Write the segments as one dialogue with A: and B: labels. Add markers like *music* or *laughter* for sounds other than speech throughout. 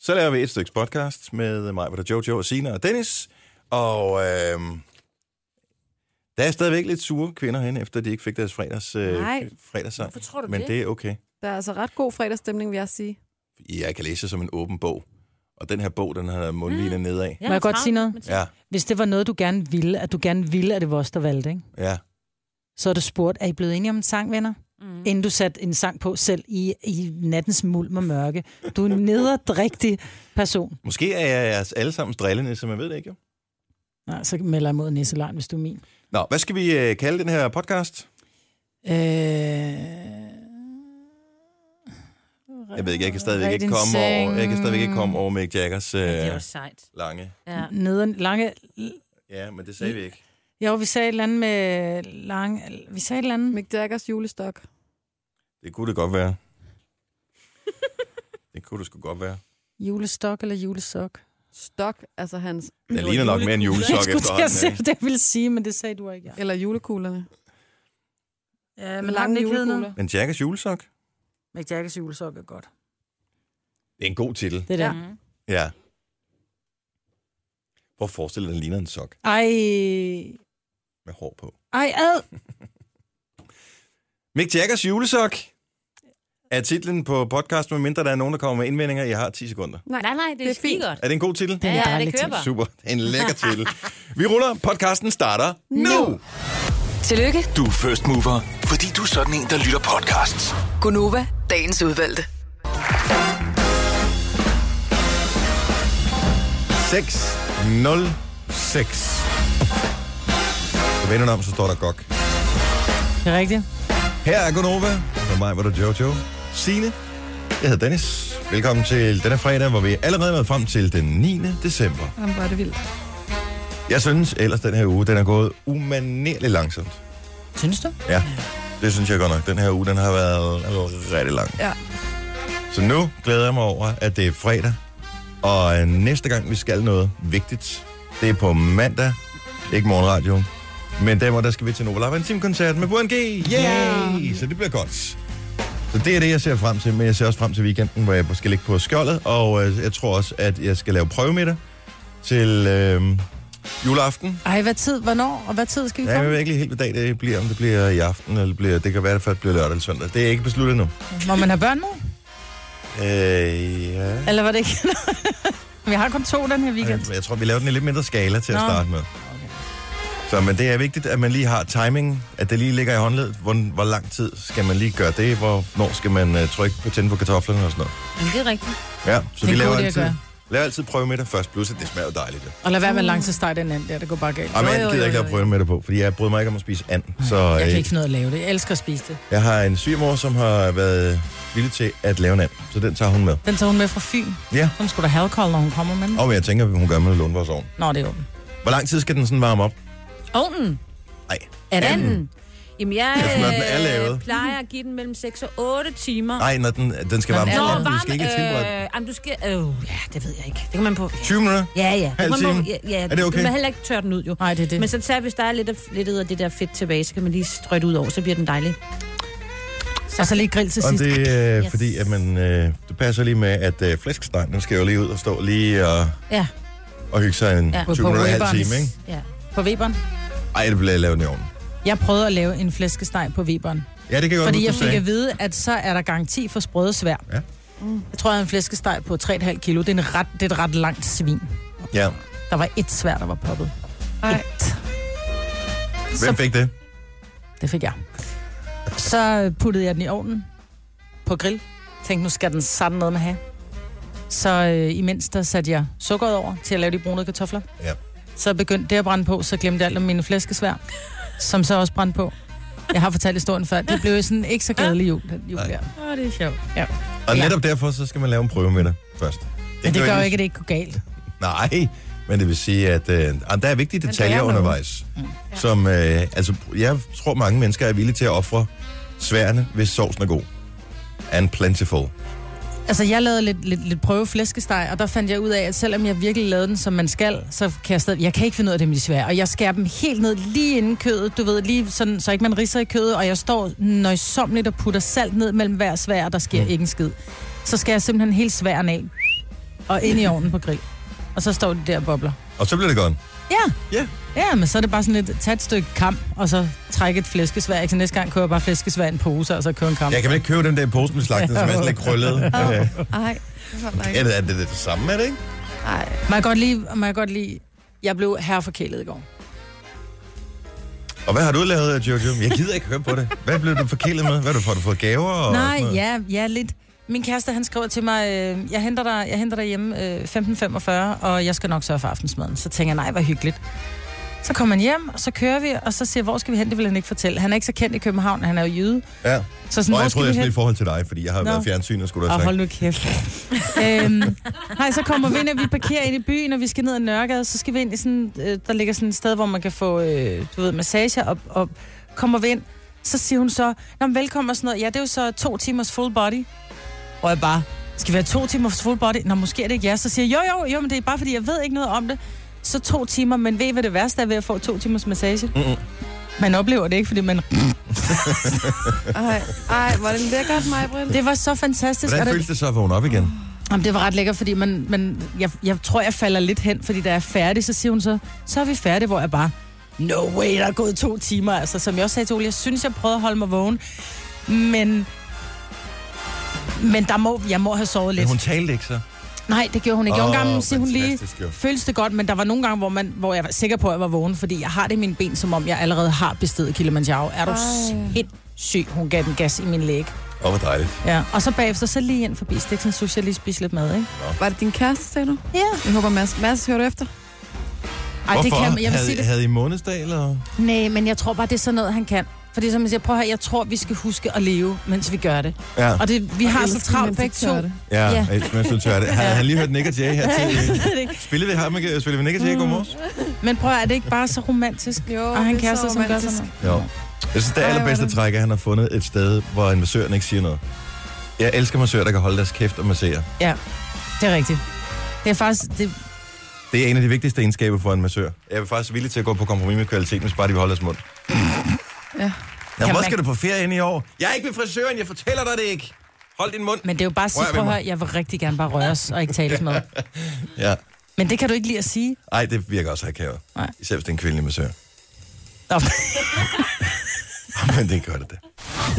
A: Så laver vi et stykke podcast med mig, hvor der Jojo og Sina og Dennis. Og øh, der er stadigvæk lidt sure kvinder hen, efter de ikke fik deres fredags, øh,
B: Nej.
A: fredagssang.
C: Hvorfor tror du
A: Men
C: det?
A: det er okay.
B: Der er altså ret god fredagsstemning, vil jeg sige.
A: Jeg kan læse som en åben bog. Og den her bog, den har mundvinen nedad.
C: Mm. Ja,
D: Må jeg godt sige noget?
A: Ja,
D: Hvis det var noget, du gerne ville, at du gerne ville, at det var os, der valgte, ikke?
A: ja.
D: så er du spurgt, er I blevet enige om en sang, venner? Mm. Inden du satte en sang på selv i, i nattens mulm og mørke. Du er en nederdrægtig person.
A: Måske er jeg jeres allesammens drillende, så man ved det ikke, jo.
D: Nej, så melder jeg mod Nisselein, hvis du er min.
A: Nå, hvad skal vi øh, kalde den her podcast?
D: Øh...
A: Jeg ved ikke, jeg kan stadigvæk
D: Red
A: ikke
D: in
A: komme over,
D: seng.
A: jeg kan stadigvæk ikke komme over Mick Jaggers
C: Men det er
A: øh,
C: jo sejt.
A: lange.
C: Ja.
D: Nederen, lange...
A: Ja, men det sagde vi ikke.
D: Jo, vi sagde et eller andet med lang... Vi sagde et eller andet med...
B: Mick Jaggers julestok.
A: Det kunne det godt
D: *laughs*
A: være. det kunne det sgu godt være.
D: julestok eller julesok.
B: Stok, altså hans...
A: Den
C: var
A: ligner nok mere en
D: Jeg
A: julesok
D: skulle til at se,
A: efterhånden.
D: hvad jeg ville sige, men det sagde du ikke. Ja,
B: Eller julekuglerne.
D: ja
B: men har den ikke heddet noget?
A: ikke? Men Jackers julesok?
D: Mick Jaggers julesok er godt.
A: Det er en god titel.
D: Det der.
C: Mm.
A: Ja. Prøv at forestille dig, at den ligner en sok
D: Ej,
A: med hår på.
D: ej, ad.
A: Mick Jaggers julesok er titlen på podcasten, medmindre der er nogen, der kommer med indvendinger. Jeg har 10 sekunder.
B: Nej,
C: Nej, nej, det er,
B: Det er fint.
C: skidegodt.
A: Er det en god titel?
D: er
C: Ja, ja, det
D: dejligt
C: kører bare.
A: Super. Det er en lækker titel. Vi ruller. Podcasten starter nu.
E: Tillykke,
F: Du er first mover, fordi du er sådan en, der lytter podcasts.
E: Gunova, dagens udvalgte.
A: 606. Så vender den om, så står der GOG.
D: Det er rigtigt.
A: Her er Gonova. For mig var der Jojo. Signe. Jeg hedder Dennis. Velkommen til denne fredag, hvor vi allerede er nået frem til den 9. december.
B: Jamen, hvor er det vildt.
A: Jeg synes ellers, den her uge, den er gået umanerligt langsomt.
D: Synes du?
A: Ja, det synes jeg godt nok. Den her uge, den har været rigtig lang.
B: Ja.
A: Så nu glæder jeg mig over, at det er fredag. Og øh, næste gang, vi skal noget vigtigt, det er på mandag. Ikke morgenradio. Men der, hvor der skal vi til Nova Lab en koncert med Burhan G. Yay! Så det bliver godt. Så det er det, jeg ser frem til. Men jeg ser også frem til weekenden, hvor jeg skal ligge på skjoldet. Og øh, jeg tror også, at jeg skal lave prøvemiddag til øh, juleaften.
D: Ej, hvad tid, hvornår, og hvad tid skal vi
A: Ja, jeg
D: komme?
A: ved ikke lige helt, hvad dag det bliver. Om det bliver i aften, eller det bliver, det kan være, det først bliver lørdag eller søndag. Det er ikke besluttet nu.
D: Må man have børn nu?
A: Øh, ja.
D: Eller var det ikke? *laughs* vi har kun to den her weekend.
A: Øh, Jeg tror, vi laver den i lidt mindre skala til at
D: Nå.
A: starte med. Så, men det er vigtigt, at man lige har timing, at det lige ligger i håndledet. Hvor, hvor lang tid skal man lige gøre det? Hvornår skal man uh, trykke på tænde på kartoflerne og sådan noget?
C: Men det er rigtigt.
A: Ja, så
D: Det
A: vi
D: er en
A: laver
D: god idé at
A: altid,
D: gøre.
A: laver altid prøve med det først. Plus, at det smager jo dejligt. Ja.
D: Og lad være med langtidssteg den anden der, det går bare galt.
A: Ej, men
C: Jo,
A: jeg
C: jo,
A: gider
C: jo,
A: ikke
C: jo,
A: at
C: jo.
A: prøve med det på, fordi jeg bryder mig ikke om at spise and. Så
D: Jeg kan
A: øh,
D: ikke finde ud af at lave det. Jeg elsker at spise det.
A: jeg har en svigermor, som har været villig til at lave en and. Så den tager hun med.
D: Den tager hun med fra Fyn.
A: Ja.
D: Hun skulle da halvkold, når hun kommer med den.
A: Og jeg tænker, hun gør med Lundborgsovn.
D: Nå, det er åbent.
A: Hvor lang tid skal den sådan varme op?
C: Ovnen.
A: Nej.
C: Er den? anden? Jamen, jeg
A: Altså, når den er lavet.
C: øh, plejer at give den mellem 6 og 8 timer.
A: Nej, når den, den skal
D: Når
A: varme
D: den er
A: op.
D: lavet.
A: Du skal ikke tilberede
C: øh, jamen, du skal... Øh, ja, det ved jeg ikke. Det kan man på...
D: øh.
C: Ja,
A: 20 minutter?
C: ja. ja.
A: Halv
C: man
A: time.
C: ja, ja,
A: Er det okay?
C: Du må heller ikke tørre den ud, jo.
D: Nej, det er det.
C: Men så tager, hvis der er lidt af, lidt af det der fedt tilbage, så kan man lige strø det ud over, så bliver den dejlig.
D: Og så lige grill til
A: Og
D: sidst.
A: det er øh,
C: Yes.
A: fordi, at man, øh, det passer lige med, at øh, flæskestegen, den skal jo lige ud og stå lige og,
C: Ja,
A: og hygge sig en
C: Ja.
A: 20 minutter og en halv
D: Weberens.
A: time, ikke?
C: ja.
D: På Weberen.
A: Ej, det bliver lavet i ovnen.
D: Jeg prøvede at lave en flæskesteg på Weberen.
A: Ja, det kan jeg godt
D: Fordi
A: huske,
D: jeg
A: du
D: fik
A: sagde.
D: at vide, at så er der garanti for sprøde svær.
A: Ja.
D: Jeg tror, jeg havde en flæskesteg på 3,5 kilo. Det er, en ret, det er et ret langt svin.
A: Ja.
D: Der var et svær, der var poppet. Et.
A: Hvem fik det?
D: Det fik jeg. Så puttede jeg den i ovnen på grill. Tænkte, nu skal den sådan noget med have. Så øh, imens der satte jeg sukkeret over til at lave de brune kartofler.
A: Ja.
D: Så begyndte det at brænde på, så glemte jeg alt om mine flæskesvær, som så også brændte på. Jeg har fortalt historien før. Det blev sådan ikke så glædelig jul, den jul
A: Nej.
D: der.
C: Åh, det er sjovt.
D: Ja.
A: Og
D: Ja.
A: netop derfor, så skal man lave en prøve med det først.
D: Men det gør jo
A: ens-
D: ikke, at det ikke går galt.
A: Nej, men det vil sige, at øh, ah, der er vigtige detaljer
B: lærer noget.
A: undervejs.
D: Mm.
A: Som, øh, altså, jeg tror, mange mennesker er villige til at ofre sværene, hvis sovsen er god. And plentiful.
D: Altså, jeg lavede lidt, lidt, lidt prøve flæskesteg, og der fandt jeg ud af, at selvom jeg virkelig lavede den, som man skal, så kan jeg stadig... Jeg kan ikke finde ud af det med de svære, og jeg skærer dem helt ned lige inden kødet, du ved, lige sådan, så ikke man ridser i kødet, og jeg står nøjsommeligt og putter salt ned mellem hver svær, og der sker mm. ikke en skid. Så skal jeg simpelthen helt sværen af. og ind i ovnen på grill. Og så står det der og bobler.
A: Og så bliver det godt.
D: Ja.
A: Ja.
D: Ja, men så er det bare sådan lidt, tag et stykke kam, og så trække et flæskesvær. Ikke? Så næste gang kører jeg bare flæskesvær i en pose, og så kører en kam.
A: Jeg kan vel ikke købe den der pose med slagten, som er sådan lidt krøllet.
D: *laughs*
A: Øh,
B: Ej, det var der ikke.
A: Er det, er det det samme, er det ikke?
B: Ej,
D: Må jeg godt lide, må jeg godt lide, jeg blev herreforkælet i går.
A: Og hvad har du lavet, Jojo? Jeg gider ikke høre på det. Hvad blev du forkælet med? Hvad har du fået? Har du fået gaver? Og
D: Nej,
A: sådan noget?
D: ja, ja, lidt. Min kæreste, han skriver til mig, øh, jeg, henter dig, jeg henter dig hjemme øh, 15.45, og jeg skal nok sørge for aftensmaden. Så tænker jeg, nej, hvor hyggeligt. Så kommer han hjem, og så kører vi, og så siger, hvor skal vi hen, det vil han ikke fortælle. Han er ikke så kendt i København, han er jo jyde.
A: ja.
D: Så sådan,
A: Og
D: hvor
A: jeg troede,
D: skal
A: jeg
D: vi
A: sådan i
D: hen?
A: forhold til dig, fordi jeg har Nå.
D: Nå.
A: været i fjernsyn, og skulle da
D: Og
A: have
D: Ah, hold
A: sagt.
D: nu kæft. øhm, nej, så kommer vi ind, og vi parkerer ind i byen, og vi skal ned ad Nørregade. Så skal vi ind i sådan, øh, der ligger sådan et sted, hvor man kan få, øh, du ved, massager, og, og kommer vi ind, så siger hun så, Nå, men velkommen og sådan noget. Ja, det er jo så to timers full body. Og jeg bare, skal vi have to timers full body? Nå, måske er det ikke jer. Så siger jeg, jo, jo, jo, men det er bare fordi, jeg ved ikke noget om det. Så to timer, men ved I, hvad det værste er ved at få to timers massage?
A: Mm-mm.
D: Man oplever det ikke, fordi man...
B: ej, ej, hvor er det lækkert, Majbrit.
D: Det var så fantastisk. og
A: Hvordan
D: der-
A: føles det så at vågne op igen?
D: Jamen, det var ret lækkert, fordi man, man, jeg, jeg tror, jeg falder lidt hen, fordi da jeg er færdig, så siger hun så, så er vi færdige, hvor jeg bare, no way, der er gået to timer. Altså, som jeg også sagde til Ole, jeg synes, jeg prøvede at holde mig vågen, men, men der må, jeg må have sovet
A: Men
D: lidt.
A: hun talte ikke så.
D: Nej, det gjorde hun ikke. Nogle
A: Åh,
D: gange siger hun lige,
A: fantastisk, jo.
D: føles det godt, men der var nogle gange, hvor, man, hvor jeg var sikker på, at jeg var vågen, fordi jeg har det i mine ben, som om jeg allerede har bestedet Kilimanjaro. Er du
B: Ej.
D: helt syg? Hun gav den gas i min læg.
A: Åh, hvor dejligt.
D: Ja. Og så bagefter, så lige ind forbi Stiksen, synes jeg lige spiste lidt mad, ikke?
B: Var det din kæreste, sagde du?
D: Ja.
B: Jeg håber, Mads, Mads hører du efter?
D: Ej, det kan, jeg vil
A: havde,
D: sige det.
A: havde I månedsdag, eller?
D: Nej, men jeg tror bare, det er sådan noget, han kan. Fordi som jeg siger, prøv her, jeg tror, vi skal huske at leve, mens vi gør det.
A: Ja,
D: Og det, vi har så
B: Elsker,
D: travlt
B: mens I
D: begge to.
B: tør
D: *laughs*
B: det.
A: ja,
D: ja.
A: ja. mens du tør det. Havde han lige hørt Nick og Jay her til? Spillede vi, ham, spillede vi Nick og Jay i går morges?
D: Men prøv at, er det ikke bare så romantisk?
B: Jo,
D: og
B: det
D: han
B: er
D: kærester,
B: så
D: som gør
B: romantisk.
D: sådan
A: Jo. Jeg synes, det
B: Ej, hvor er
A: allerbedste
B: det-
A: træk er, at han har fundet et sted, hvor en massøren ikke siger noget. Jeg elsker massører, der kan holde deres kæft og massere.
D: noget. Det er rigtigt. Det er faktisk... Det,
A: Det er en af de vigtigste egenskaber for en massør. Jeg er faktisk villig til at gå på kompromis med kvaliteten, hvis bare de vil holde deres mund.
B: Ja.
A: Nå, hvor
D: man-
A: skal du på ferie ind i år? Jeg er ikke ved frisøren, jeg fortæller dig det ikke. Hold din mund.
D: men det er jo bare at sige,
A: Rør ved
D: prøv at
A: mig.
D: høre, jeg vil rigtig gerne bare røres og ikke tales *laughs* med.
A: Ja.
D: Men det kan du ikke lide at sige.
A: Ej, det virker også akavet.
D: Nej.
A: Især hvis det er en kvindelig massør. *laughs*
D: Nå,
A: Men det gør det da.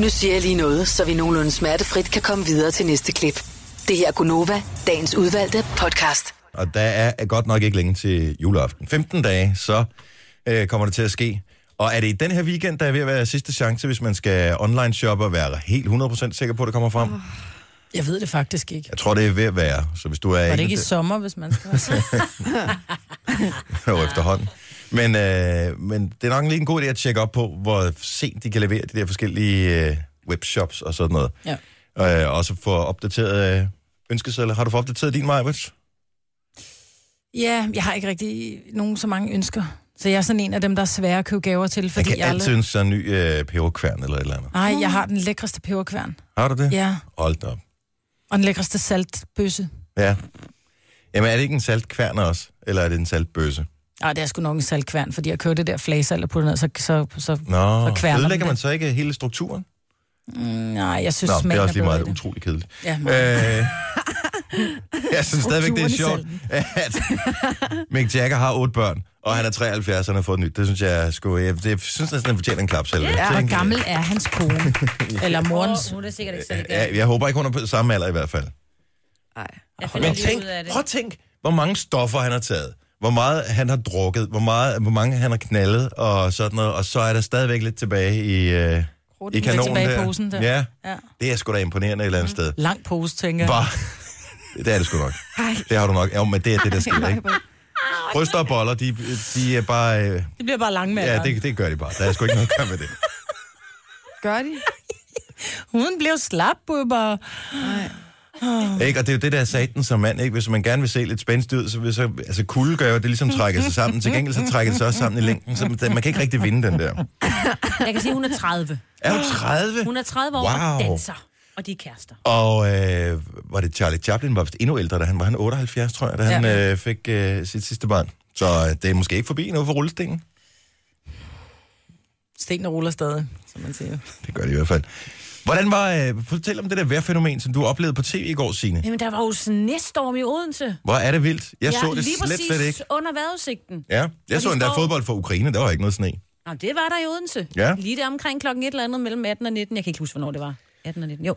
E: Nu siger jeg lige noget, så vi nogenlunde smertefrit kan komme videre til næste klip. Det her er Gunova, dagens udvalgte podcast.
A: Og der er godt nok ikke længe til juleaften. 15 dage, så øh, kommer det til at ske. Og er det i den her weekend, der er ved at være sidste chance, hvis man skal online shoppe og være helt 100% sikker på, at det kommer frem?
D: *laughs* jeg ved det faktisk ikke.
A: Jeg tror, det er ved at være. Så hvis du er
D: Var
A: en
D: det
A: af
D: ikke i
A: de-
D: sommer, hvis man skal *laughs* være
A: jo, efterhånden. Men, øh, men det er nok lige en god idé at tjekke op på, hvor sent de kan levere de der forskellige øh, webshops og sådan noget.
D: Ja.
A: Øh, og så få opdateret øh, ønskesedler. Har du fået opdateret din, Majbrits?
D: Ja, jeg har ikke rigtig nogen så mange ønsker. Så jeg er sådan en af dem, der er svære at købe gaver til,
A: Jeg
D: fordi
A: kan
D: jeg,
A: altid
D: aldrig...
A: ønske sig en ny øh, peberkværn eller et eller andet.
D: Nej, jeg har den lækreste peberkværn.
A: Har du det?
D: Ja,
A: Hold da op.
D: og den lækreste saltbøsse.
A: Ja. Jamen, er det ikke en saltkværn også? Eller er det en saltbøsse?
D: Nej, det er sgu nok en saltkværn, fordi jeg købte det der flasal og puttede ned, så... så, så
A: Nå,
D: Så kværner
A: ødelægger
D: den.
A: man så ikke hele strukturen?
D: mm, nej, jeg synes,
A: Nå, det
D: smagen
A: er også lige
D: bedre
A: meget
D: i det.
A: utrolig kedeligt.
D: Ja,
A: Øh, *laughs* jeg synes stadigvæk, det er sjovt,
D: Strukturen
A: at Mick Jagger har otte børn, og han er 73, og han har fået nyt. Det synes jeg sgu... Jeg, jeg synes næsten, han fortjener en klap selv.
D: Ja, hvor gammel er hans
A: *laughs*
D: kone? Eller morens?
C: Åh, nu er det sikkert ikke særlig
A: Ja, jeg håber ikke, hun er på samme alder i hvert fald.
B: Ej.
C: Jeg finder
A: Men
C: lige
A: tænk,
C: ud af det.
A: prøv at tænk, hvor mange stoffer han har taget. Hvor meget han har drukket, hvor, meget, hvor mange han har knaldet og sådan noget. Og så er der stadigvæk lidt tilbage i, øh, i
D: Lidt
A: kanonen
D: tilbage i
A: der.
D: posen der.
A: Ja,
D: Ja. Mhm.
A: det er sgu da imponerende et eller andet sted.
D: Lang pose, tænker jeg.
A: Bare, det er det sgu nok. Det har du nok. Jo, men det er det, der sker, ikke? Bryster og boller, de, de er bare... Øh,
D: Det bliver bare lang med
A: ja, det, det gør de bare. Der er sgu ikke noget at gøre med det.
B: Gør de?
D: Huden bliver slap, bubber.
A: Ikke? Og det er jo det, der er satan som mand. Ikke? Hvis man gerne vil se lidt spændende ud, så, vil så altså, kulde gør jo, at det ligesom trækker sig sammen. Til gengæld så trækker det sig også sammen i længden, så man man kan ikke rigtig vinde den der.
C: Jeg kan sige, hun er 30.
A: Er du 30?
C: Hun er 30 år
A: Wow.
C: og danser. Og de er kærester.
A: Og øh, var det Charlie Chaplin, var vist endnu ældre, da han var han 78, tror jeg, da han øh, fik øh, sit sidste barn. Så øh, det er måske ikke forbi noget for rullestenen.
D: Stenene ruller stadig, som man siger.
A: Det gør det i hvert fald. Hvordan var, øh, fortæl om det der vejrfænomen, som du oplevede på tv i går, Signe.
C: Jamen, der var jo snestorm i Odense.
A: Hvor er det vildt. Jeg
C: Ja,
A: så det
C: lige
A: slet,
C: præcis
A: slet ikke.
C: under vejrudsigten.
A: Ja, jeg
C: Og
A: så
C: de
A: endda
C: står-
A: fodbold for Ukraine, der var ikke noget sne.
C: Nå, det var der i Odense.
A: Ja.
C: Lige der omkring klokken et eller andet mellem 18 og 19. Jeg kan ikke huske, hvornår det var. 18 og 19, jo.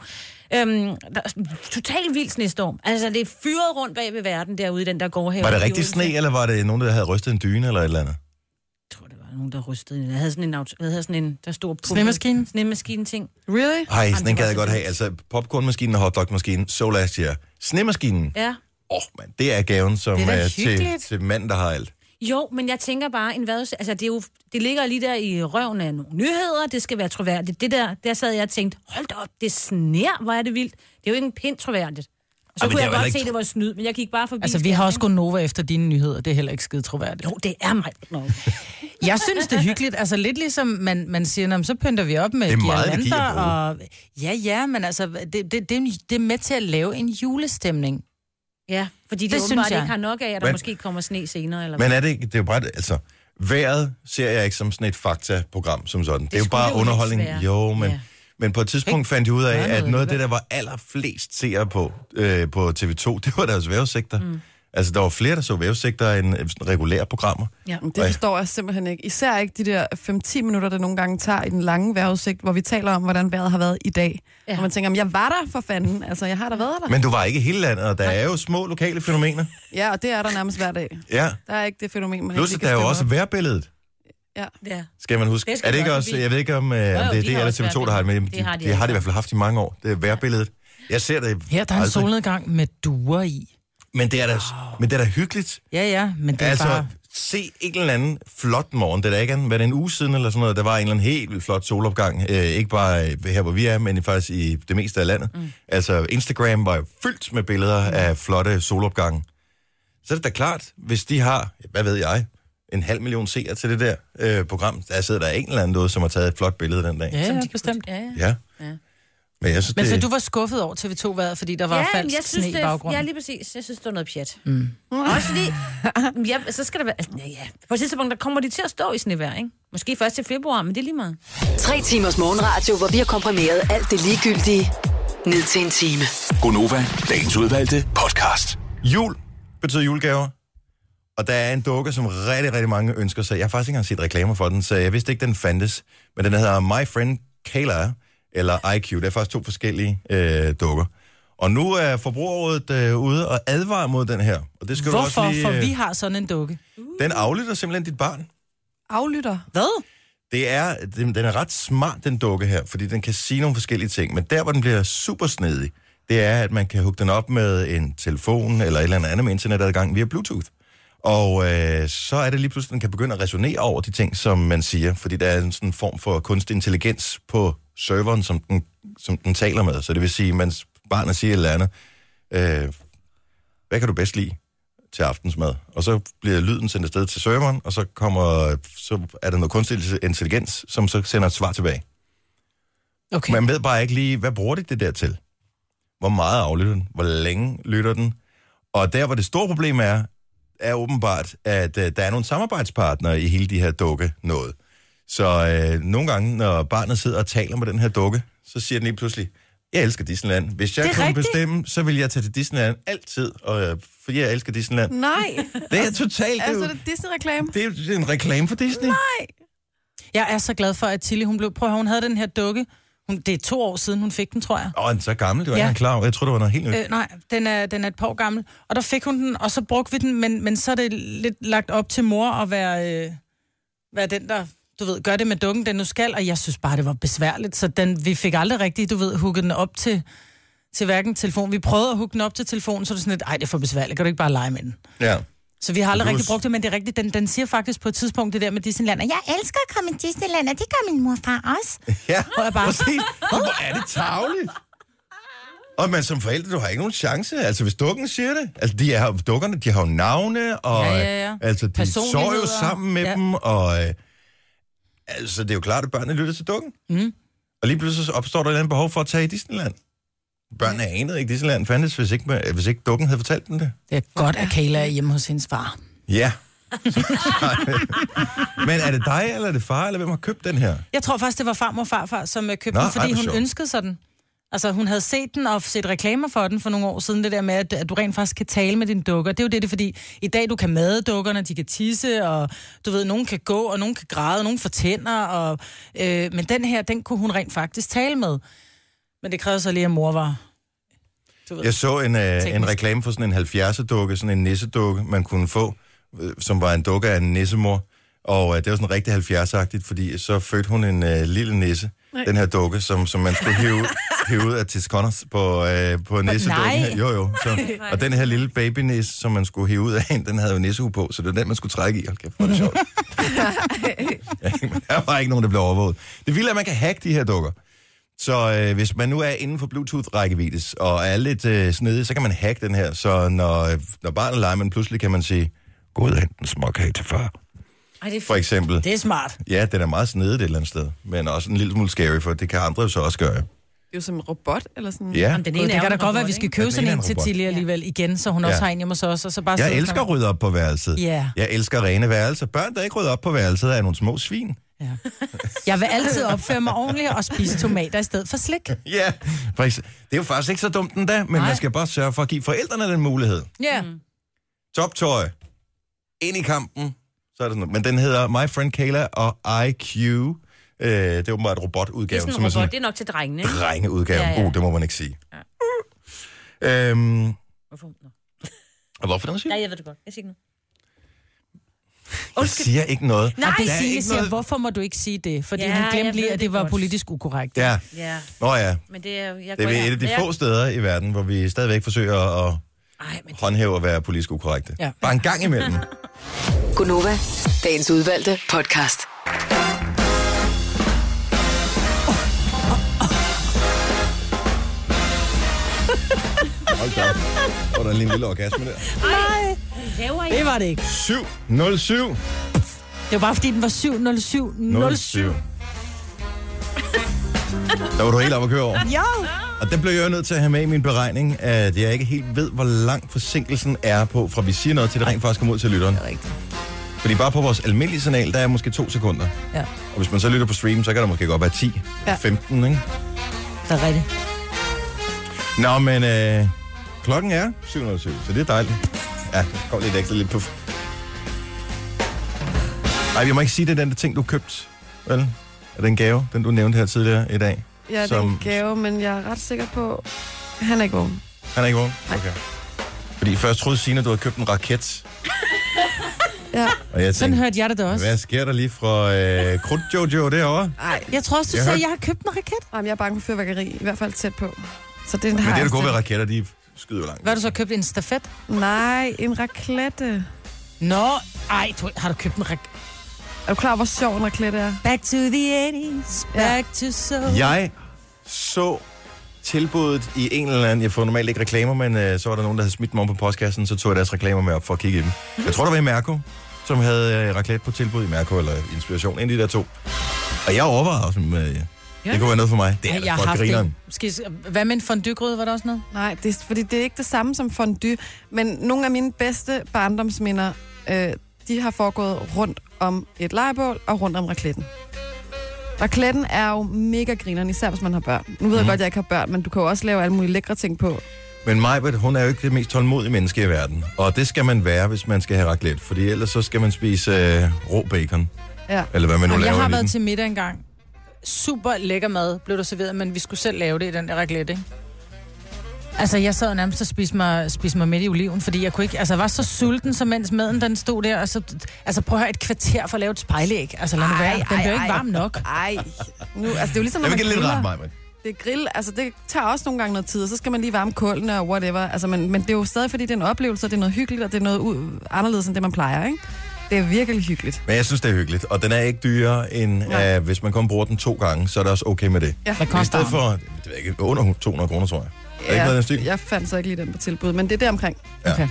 C: Øhm, der er total vild snestorm. Altså, det er fyret rundt bag ved verden derude i den der gårdhave.
A: Var det
C: i
A: rigtig
C: Odense.
A: sne, eller var det nogen, der havde rystet en dyne eller et eller andet?
C: Jeg tror, det var nogen, der rystede. Jeg havde sådan en, auto, jeg havde sådan en der stod på...
D: Snemaskine?
C: Snemaskine-ting.
B: Really?
A: Ej, sådan en
C: det
A: gad
C: var
A: jeg godt
C: så
A: have. Altså, popcornmaskinen og hotdogmaskinen, so last year. Snemaskinen.
C: Ja.
A: Åh, oh, mand, det er gaven som
D: Det er da
A: er til,
D: hyggeligt.
A: til manden, der har alt.
C: Jo, men jeg tænker bare, en vejruds... altså, det, er jo, det ligger lige der i røven af nogle nyheder, det skal være troværdigt. Det der, der sad jeg og tænkte, hold da op, det sner, hvor er det vildt. Det er jo ikke en pind troværdigt. Og så
A: Ej, men det
C: kunne
A: er
C: jeg
A: jo
C: godt
A: heller
C: se,
A: ikke-
C: det var snyd, men jeg gik bare forbi.
D: Altså, vi har også gået Nova efter dine nyheder. Det er heller ikke skide troværdigt.
C: Jo, det er mig. Nå.
D: Jeg synes, det er hyggeligt. Altså lidt ligesom man, man siger, "Nå, men så pynter vi op med
A: Det er meget energi at
D: guirlander og... Ja, ja, men altså, det, det, det, det er med til at lave en julestemning.
C: Ja, fordi det, det
D: Det synes
C: åbenbart
D: jeg.
C: ikke har nok af, at der
A: Men-
C: men... måske kommer sne senere. Eller
A: Men er det ikke, det er jo bare, altså, vejret ser jeg ikke som sådan et faktaprogram som sådan. Det, det er jo
C: skulle
A: bare
C: det jo
A: underholdning.
C: helst være.
A: Jo, men, ja.
C: Ja.
A: men på et tidspunkt
D: Ikke?
A: fandt jeg ud af,
D: Gøre
A: at
D: noget
A: noget af
D: ved
A: det, der var allerflest seere på, øh, på TV2, *laughs* det var deres vævesigter. Mm. Altså, der var flere, der så vævesigter end øh, sådan regulære programmer.
C: Ja.
B: Det forstår jeg simpelthen ikke. Især ikke de der 5-10 minutter, der nogle gange tager i den lange vejrudsigt, hvor vi taler om, hvordan vejret har været i dag. Ja.
C: Ja.
B: Og man tænker, "Men jeg var der for fanden. Altså, jeg har da været der.
A: Men du var ikke i hele landet, og der er jo små lokale fænomener.
B: Ja, og det er der nærmest hver dag.
A: Ja.
B: Der er ikke det fænomen, man
A: Plus,
B: ikke
A: at
B: lige
A: der er
B: kan
A: jo
B: stemme
A: også
B: op.
A: værbilledet,
B: Ja.
C: Ja.
A: skal man huske.
C: Det skal
A: er det
C: vi
A: ikke
C: også
A: også,
C: forbi.
A: jeg ved ikke om øh,
C: jo,
A: det,
C: de
A: det er
C: har
A: eller
C: også
A: TV2, der har det med,
C: Det har de
A: det har de i
C: altså.
A: hvert fald haft i mange år, det er værbilledet. Jeg ser det
D: Her der er en
A: aldrig.
D: solnedgang med duer i.
A: Men det er da, men det er da hyggeligt.
D: Ja, ja, men det er
A: Altså,
D: altså... bare...
A: se en eller anden flot morgen. Det er da ikke andet, hvad det er en uge siden eller sådan noget. Der var en eller anden helt vildt flot solopgang. Øh, ikke bare øh, her, hvor vi er, men faktisk i det meste af landet. Mm. Altså, Instagram var jo fyldt med billeder mm. af flotte solopgange. Så er det da klart, hvis de har, hvad ved jeg, en halv million seere til det der øh, program, der sidder der en eller anden derude, som har taget et flot billede den dag.
D: Ja, ja, bestemt.
C: Ja, ja.
A: Ja. ja.
C: Ja.
A: Men jeg synes,
D: Men
A: det...
D: så du var skuffet over TV2-vejret, fordi der var
C: Ja,
D: falsk
C: jeg synes,
D: sne
C: det,
D: i baggrunden?
C: Ja, lige præcis. Jeg synes, det var noget pjat. Mm. *laughs* Også fordi, ja, så skal der være... Altså, ja, ja. På et tidspunkt, der kommer de til at stå i snevejr, ikke? Måske først til februar, men det er lige meget.
E: Tre timers morgenradio, hvor vi har komprimeret alt det ligegyldige ned til en time.
F: Gonova, dagens udvalgte podcast.
A: Jul betyder julegaver. Og der er en dukke, som rigtig, rigtig mange ønsker sig. Jeg har faktisk ikke engang set reklamer for den, så jeg vidste ikke, den fandtes. Men den hedder My Friend Kayla, eller IQ. Det er faktisk to forskellige øh, dukker. Og nu er forbrugerrådet øh, ude og advarer mod den her. Og det skal du
D: Hvorfor?
A: også lige, øh,
D: For vi har sådan en dukke.
A: Den aflytter simpelthen dit barn.
B: Aflytter.
D: Hvad?
A: Det er, den, den er ret smart, den dukke her, fordi den kan sige nogle forskellige ting. Men der, hvor den bliver super snedig, det er, at man kan hugge den op med en telefon eller et eller andet andet med internetadgang via Bluetooth. Og øh, så er det lige pludselig, at den kan begynde at resonere over de ting, som man siger, fordi der er en sådan form for kunstig intelligens på serveren, som den, som den taler med. Så det vil sige, mens barnet siger et eller andet, øh, hvad kan du bedst lide til aftensmad? Og så bliver lyden sendt afsted til serveren, og så, kommer, så er der noget kunstig intelligens, som så sender et svar tilbage.
D: Okay.
A: Man ved bare ikke lige, hvad bruger de det der til? Hvor meget aflytter den? Hvor længe lytter den? Og der, hvor det store problem er, er åbenbart, at øh, der er nogle samarbejdspartnere i hele de her dukke noget. Så øh, nogle gange, når barnet sidder og taler med den her dukke, så siger den lige pludselig, jeg elsker Disneyland. Hvis jeg
D: Det er
A: kunne rigtigt.
D: rigtigt.
A: bestemme, så vil jeg tage til Disneyland altid, og, øh, fordi jeg elsker Disneyland.
B: *laughs* Nej.
A: Det er totalt...
B: altså,
A: Altså,
B: det er *laughs* Disney-reklame.
A: det er jo det er en reklame for Disney.
B: Nej.
D: Jeg er så glad for, at Tilly, hun blev... Prøv at høre, hun havde den her dukke. Hun, det er to år siden, hun fik den, tror jeg.
A: Åh, oh, den er så gammel, det var ja. ikke
D: Ja.
A: engang klar over. Jeg tror, det var noget helt nyt.
D: Øh, nej, den er, den er et par år gammel. Og der fik hun den, og så brugte vi den, men, men så er det lidt lagt op til mor at være, øh, være den, der du ved, gør det med dukken, den nu skal, og jeg synes bare, det var besværligt, så den, vi fik aldrig rigtig, du ved, hugget den op til, til hverken telefon. Vi prøvede at hugge den op til telefonen, så er det sådan lidt, ej, det er for besværligt, kan du ikke bare lege med den?
A: Ja.
D: Så vi har aldrig
A: Det er jo
D: rigtig
A: s-
D: brugt det, men det er rigtigt, den, den siger faktisk på et tidspunkt det der med Disneyland, og jeg elsker at komme i Disneyland, og det gør min mor og far også.
A: Ja,
D: Hvor jeg bare-
A: præcis. Hvor er det tavligt. Og man som forældre, du har ikke nogen chance. Altså, hvis dukken siger det. Altså, de er, dukkerne, de har jo navne, og
D: Ja, ja, ja.
A: Altså, de sover jo
D: Personligheder.
A: sammen med ja.
D: Ja.
A: dem, og øh, altså, det er jo klart, at børnene lytter til dukken.
D: Mm.
A: Og lige pludselig så opstår der et eller andet behov for at tage i Disneyland. Børnene ja. anede ikke, Disneyland fandtes, hvis ikke, hvis ikke dukken havde fortalt dem det.
D: Det er godt, at Kayla er hjemme hos hendes far.
A: Ja, *laughs* Men er det dig, eller er det far, eller hvem har købt den her?
D: Jeg tror faktisk, det var farmor og farfar, som øh, købte
A: Nå,
D: den,
A: ej,
D: fordi
A: hvor
D: hun
A: sjovt.
D: ønskede sig den. Altså, hun havde set den og set reklamer for den for nogle år siden, det der med, at, at du rent faktisk kan tale med dine dukker. Det er jo det, det er, fordi i dag, du kan made dukkerne, de kan tisse, og du ved, nogen kan gå, og nogen kan græde, og nogen får tænder, og, øh, men den her, den kunne hun rent faktisk tale med. Men det krævede så lige, at mor var... Du ved.
A: Jeg så en, øh, en
D: Teknisk.
A: reklame for sådan en 70'er-dukke, sådan en nissedukke, man kunne få, øh, som var en dukke af en nissemor. Og øh, det var sådan rigtig 70'er-agtigt, fordi så fødte hun en øh, lille nisse, Nej. den her dukke, som, som man skulle
D: *laughs*
A: hive, hive ud af Tis Connors på, øh, på nissedukken.
D: *laughs* nej.
A: her. Jo, jo. Så, og den her lille babynisse, som man skulle hive ud af hende, den havde jo nissehue på, så det var den, man skulle trække i. Hold kæft, hvor er det sjovt. *laughs* der var ikke nogen, der blev overvåget. Det vilde er, at man kan hacke de her dukker. Så øh, hvis man nu er inden for Bluetooth-rækkeviddes og er lidt øh, snedig, så kan man hacke den her. Så når, øh, når barnet leger, men pludselig kan man sige, gå ud og hente en småkage til far,
C: Ej, det er
A: for eksempel.
D: Det er smart.
A: Ja, den er meget snedet et eller andet sted, men også en lille smule scary, for det kan andre jo så også gøre.
B: Det er jo som en robot, eller sådan.
A: Ja,
C: Jamen, den
D: God,
C: ene
D: Mm, det
C: er
D: kan
C: jo
D: da
C: en
D: godt være, at vi
C: robot,
D: skal
C: ikke?
A: Ja,
D: købe
A: den
D: sådan
A: ene
D: en
A: er en
D: til
A: robot.
D: Tilly alligevel igen, så hun også
A: Ja.
D: har en hjemme hos os, og så bare sidder
A: jeg
D: hun
A: elsker at
D: sammen.
A: rydde op på værelset.
D: Ja.
A: Jeg elsker rene værelser. Børn, der ikke rydder op på værelset, er nogle små svin.
D: Ja. Jeg vil altid opføre mig ordentligt og spise tomater i stedet for slik.
A: Ja, for ekse- det er jo faktisk ikke så dumt den da, men Nej.
D: Nej.
A: man skal bare sørge for at give forældrene den mulighed.
D: Ja.
A: toptøj, ind i kampen. Så er det sådan, men den hedder My Friend Kayla og IQ. Øh, det er åbenbart
C: Det er
A: robotudgaven,
C: sådan
A: som
C: en
A: er
C: robot,
A: sådan
C: det er nok til drengene.
A: en
C: ikke?
A: drengeudgave. Ja,
C: Ja,
A: ja.
C: ja.
A: Uh, det må man ikke sige. Ja. Øhm,
C: Hvorfor? Nå.
A: og hvorfor den er syg?
C: Nej, jeg ved det godt. Jeg siger ikke noget.
A: Jeg siger ikke noget.
D: Nej,
A: Der
D: det
A: er
D: siger,
A: ikke
D: siger,
A: noget-
D: hvorfor må du ikke sige det? Fordi
C: Ja,
D: ja, han
C: jeg
D: glemte
C: ved
D: lige, at
C: det
D: det var
C: godt.
D: politisk ukorrekt.
A: Ja.
C: Ja,
A: Nå ja,
C: men det er... Jeg
A: det er
C: går-
A: et af de
C: jeg-
A: få steder i verden, hvor vi stadigvæk forsøger at
C: Ej, men det,
A: håndhæve at være politisk ukorrekte.
D: Ja.
A: Bare en gang imellem.
E: Gunova, dagens udvalgte podcast.
A: Hold da. op. Var der lige en lille orgasme
C: *laughs*
A: der?
C: laver I?
D: Det var det ikke.
A: 707.
D: Det var bare, fordi den var 707.
A: 07. *laughs* Der var du helt oppe at køre over.
D: Jo!
A: Og det blev jeg jo nødt til at have med i min beregning, at jeg ikke helt ved, hvor lang forsinkelsen er på, fra vi siger noget til det rent faktisk kommer ud til lytteren. Det er rigtigt. Fordi bare på vores almindelige signal, der er måske to sekunder.
D: Ja,
A: Og hvis man så lytter på stream, så kan der måske godt være 10, ja.
B: Ja.
A: 15, ikke?
D: det er rigtigt.
A: Nå, men øh, klokken er 707, så det er dejligt. Ja, der kom lidt ekstra lidt på... Nej, jeg må ikke sige, det er den der ting, du købte, vel? Er den gave, den du nævnte her tidligere i dag?
B: Ja, som...
A: Som-
B: den gave, men jeg er ret sikker på, han er ikke vågen.
A: Han er ikke vågen? Okay. Fordi først troede Signe, du havde købt en raket.
B: Ja.
A: Og jeg
D: Sådan
A: tænkte,
D: hørte jeg det da også.
A: hvad sker der lige fra øh, Krudt Jojo derovre?
B: Ej,
D: Jeg tror også, du
A: Jeg
D: sagde,
A: hørte-
D: at jeg har købt en raket.
B: *laughs* jamen, jeg er bange for fyrværkeri, i hvert fald tæt på. Så den
A: Men
B: har
A: det er
B: jeg altså-
A: det gode ved
B: selv.
A: raketter, de skyder jo langt.
D: Hvad har du så købt? En stafet?
B: Nej, en raklette.
D: Nå, ej, du, har du købt en raket?
B: Er du klar, over, hvor sjov en raklette er?
D: Back to the 80s, back ja. to soul.
A: Jeg så tilbuddet i en eller anden... Jeg får normalt ikke reklamer, men øh, så var der nogen, der havde smidt dem om på postkassen, så tog jeg deres reklamer med op for at kigge i dem. Jeg tror, det var i Mærko, som havde øh, raclette på tilbud i Mærko, eller Inspiration, en af de der to. Og jeg overvejede også, om, øh, det kunne være noget for mig. Det er
D: Ej,
A: da
D: jeg har
A: for
D: haft
A: grineren.
D: en. Måske, hvad med en fondygryde, var der også noget?
B: Nej, det er, fordi det er ikke det samme som fondue. Men nogle af mine bedste barndomsminder, øh, de har foregået rundt om et legebål og rundt om rakletten. Rakletten er jo mega grineren, især hvis man har børn. Nu ved jeg
A: Mhm.
B: godt, at jeg ikke har børn, men du kan jo også lave alle mulige lækre ting på.
A: Men Majbert, hun er jo ikke det mest tålmodige menneske i verden. Og det skal man være, hvis man skal have raclette. Fordi ellers så skal man spise øh, rå bacon.
B: Ja.
A: Eller hvad man nu
D: Jamen, jeg
A: laver
D: har
A: i den.
D: været til middag engang. Super lækker mad blev der serveret, men vi skulle selv lave det i den der raclette, ikke? Altså, jeg sad nærmest og spiste mig, spiste mig midt i oliven, fordi jeg kunne ikke... Altså, jeg var så sulten, så mens maden den stod der, og så... Altså, prøv at høre, et kvarter for at lave et spejlæg. Altså, lad nu
B: Ej,
D: være. Den
B: ej,
D: blev ikke
B: ej.
D: varm nok.
B: Ej, nu, altså det er jo ligesom, når
A: Jeg
B: man
A: vil give det lidt
B: griller.
A: ret, Majbert.
B: Det er grill, altså det tager også nogle gange noget tid, og så skal man lige varme kulene og whatever. Altså, men, men det er jo stadig, fordi det er en oplevelse, og det er noget hyggeligt, og det er noget u- anderledes end det, man plejer, ikke? Det er virkelig hyggeligt.
A: Men jeg synes, det er hyggeligt. Og den er ikke dyrere, end
B: Nej.
A: øh, hvis man kun bruger den to gange, så er det også okay med det.
B: Ja.
D: Hvad
A: I
D: koster
A: stedet
D: den?
A: for, det ved jeg ikke, under 200 kroner, tror jeg. Er det ikke noget i den stil?
B: jeg fandt så ikke lige den på tilbud, men det er der omkring.
A: Ja.
D: Okay.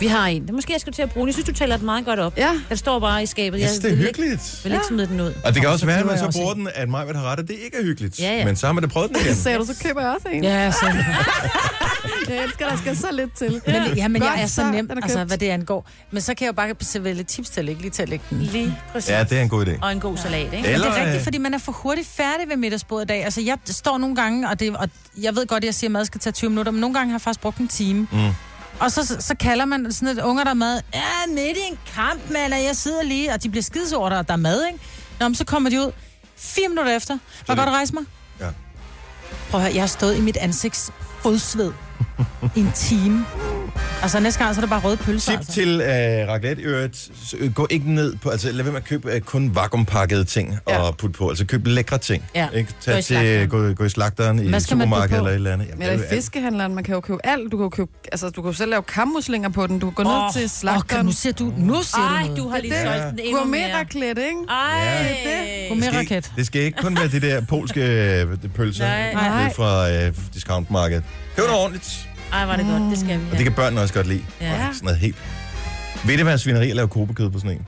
C: Vi har en. Det måske jeg skal til at bruge den. Jeg synes, du taler den meget godt op.
B: Ja.
C: Den står bare i skabet.
A: Jeg synes, det er
C: vil
A: hyggeligt.
C: Ikke, vil ikke smide den ud.
A: Og det kan
D: Nå,
A: også
D: så
A: være, at
D: køber
A: man
D: jeg
A: så
D: også
A: bruger den, at mig har ret, og det ikke er hyggeligt.
C: Ja, ja.
A: Men så har man da prøvet den igen.
B: Sagde du, *laughs* så køber jeg også en. Ja.
D: Ja, så.
B: Jeg elsker, der skal så lidt til.
D: Men, ja, men
B: Godt,
D: jeg er så nem,
B: den er
D: altså,
B: købt.
D: hvad det angår. Men så kan jeg jo bare servere lidt tips til at lægge, lige til at lægge den.
C: Lige præcis.
A: Ja, det er en god idé.
C: Og en god salat, ikke?
A: Eller,
D: Men det er
A: øh,
D: rigtigt, fordi man er for hurtigt færdig ved middagsbordet i dag. Altså, jeg står nogle gange, og, det, og jeg ved godt, at jeg siger, at mad skal tage 20 minutter, men nogle gange har jeg faktisk brugt en time. Mm. Og så, så kalder man sådan et unger, der er mad. Ja, midt i en kamp, mand, og jeg sidder lige, og de bliver skidesure, over, at der er mad, ikke? Nå, men så kommer de ud fire minutter efter. Var
A: det-
D: godt rejse mig?
A: Ja.
D: Prøv at høre, jeg har stået i mit ansigts fodsved i en time. Altså, næste gang, så er det bare røde pølser,
A: Tip
D: altså.
A: til øh, raclette øret. øh, Gå ikke ned på, altså lad være med at købe øh, kun vakuumpakkede ting ja. og putte på. Altså køb lækre ting.
D: Ja.
A: Ikke?
C: Gå
A: Tag
C: i
A: til,
C: slagteren.
A: gå, gå i slagteren i
D: Hvad skal man putte
A: supermarkedet
D: på?
A: eller et eller andet. Jamen,
B: Men eller
A: det
B: i
A: er jo
B: fiskehandleren, man kan jo købe alt. Du kan jo købe, altså, du kan jo selv lave kammuslinger på den. Du kan gå ned
D: Åh,
B: til
D: Åh, kan-
B: slagteren.
D: nu siger du, nu siger
C: Ej,
D: du noget.
C: du har lige
B: Det er
C: solgt
A: det.
C: den endnu mere.
B: Gourmet-raclette, ikke?
C: Ej,
A: Ja.
C: det.
D: Gå
A: alt.
D: med
A: det skal,
D: raket.
A: ikke, det skal ikke kun være det der polske øh, de pølser
C: Nej.
B: Nej.
A: ned fra øh, discountmarkedet. Køb noget ordentligt,
C: Ej, var det godt. Det skal vi
A: og det
C: have.
A: kan børnene også godt lide.
C: Ja.
A: Og Sådan noget helt. Ved det være svineri at lave kobekød på sådan en?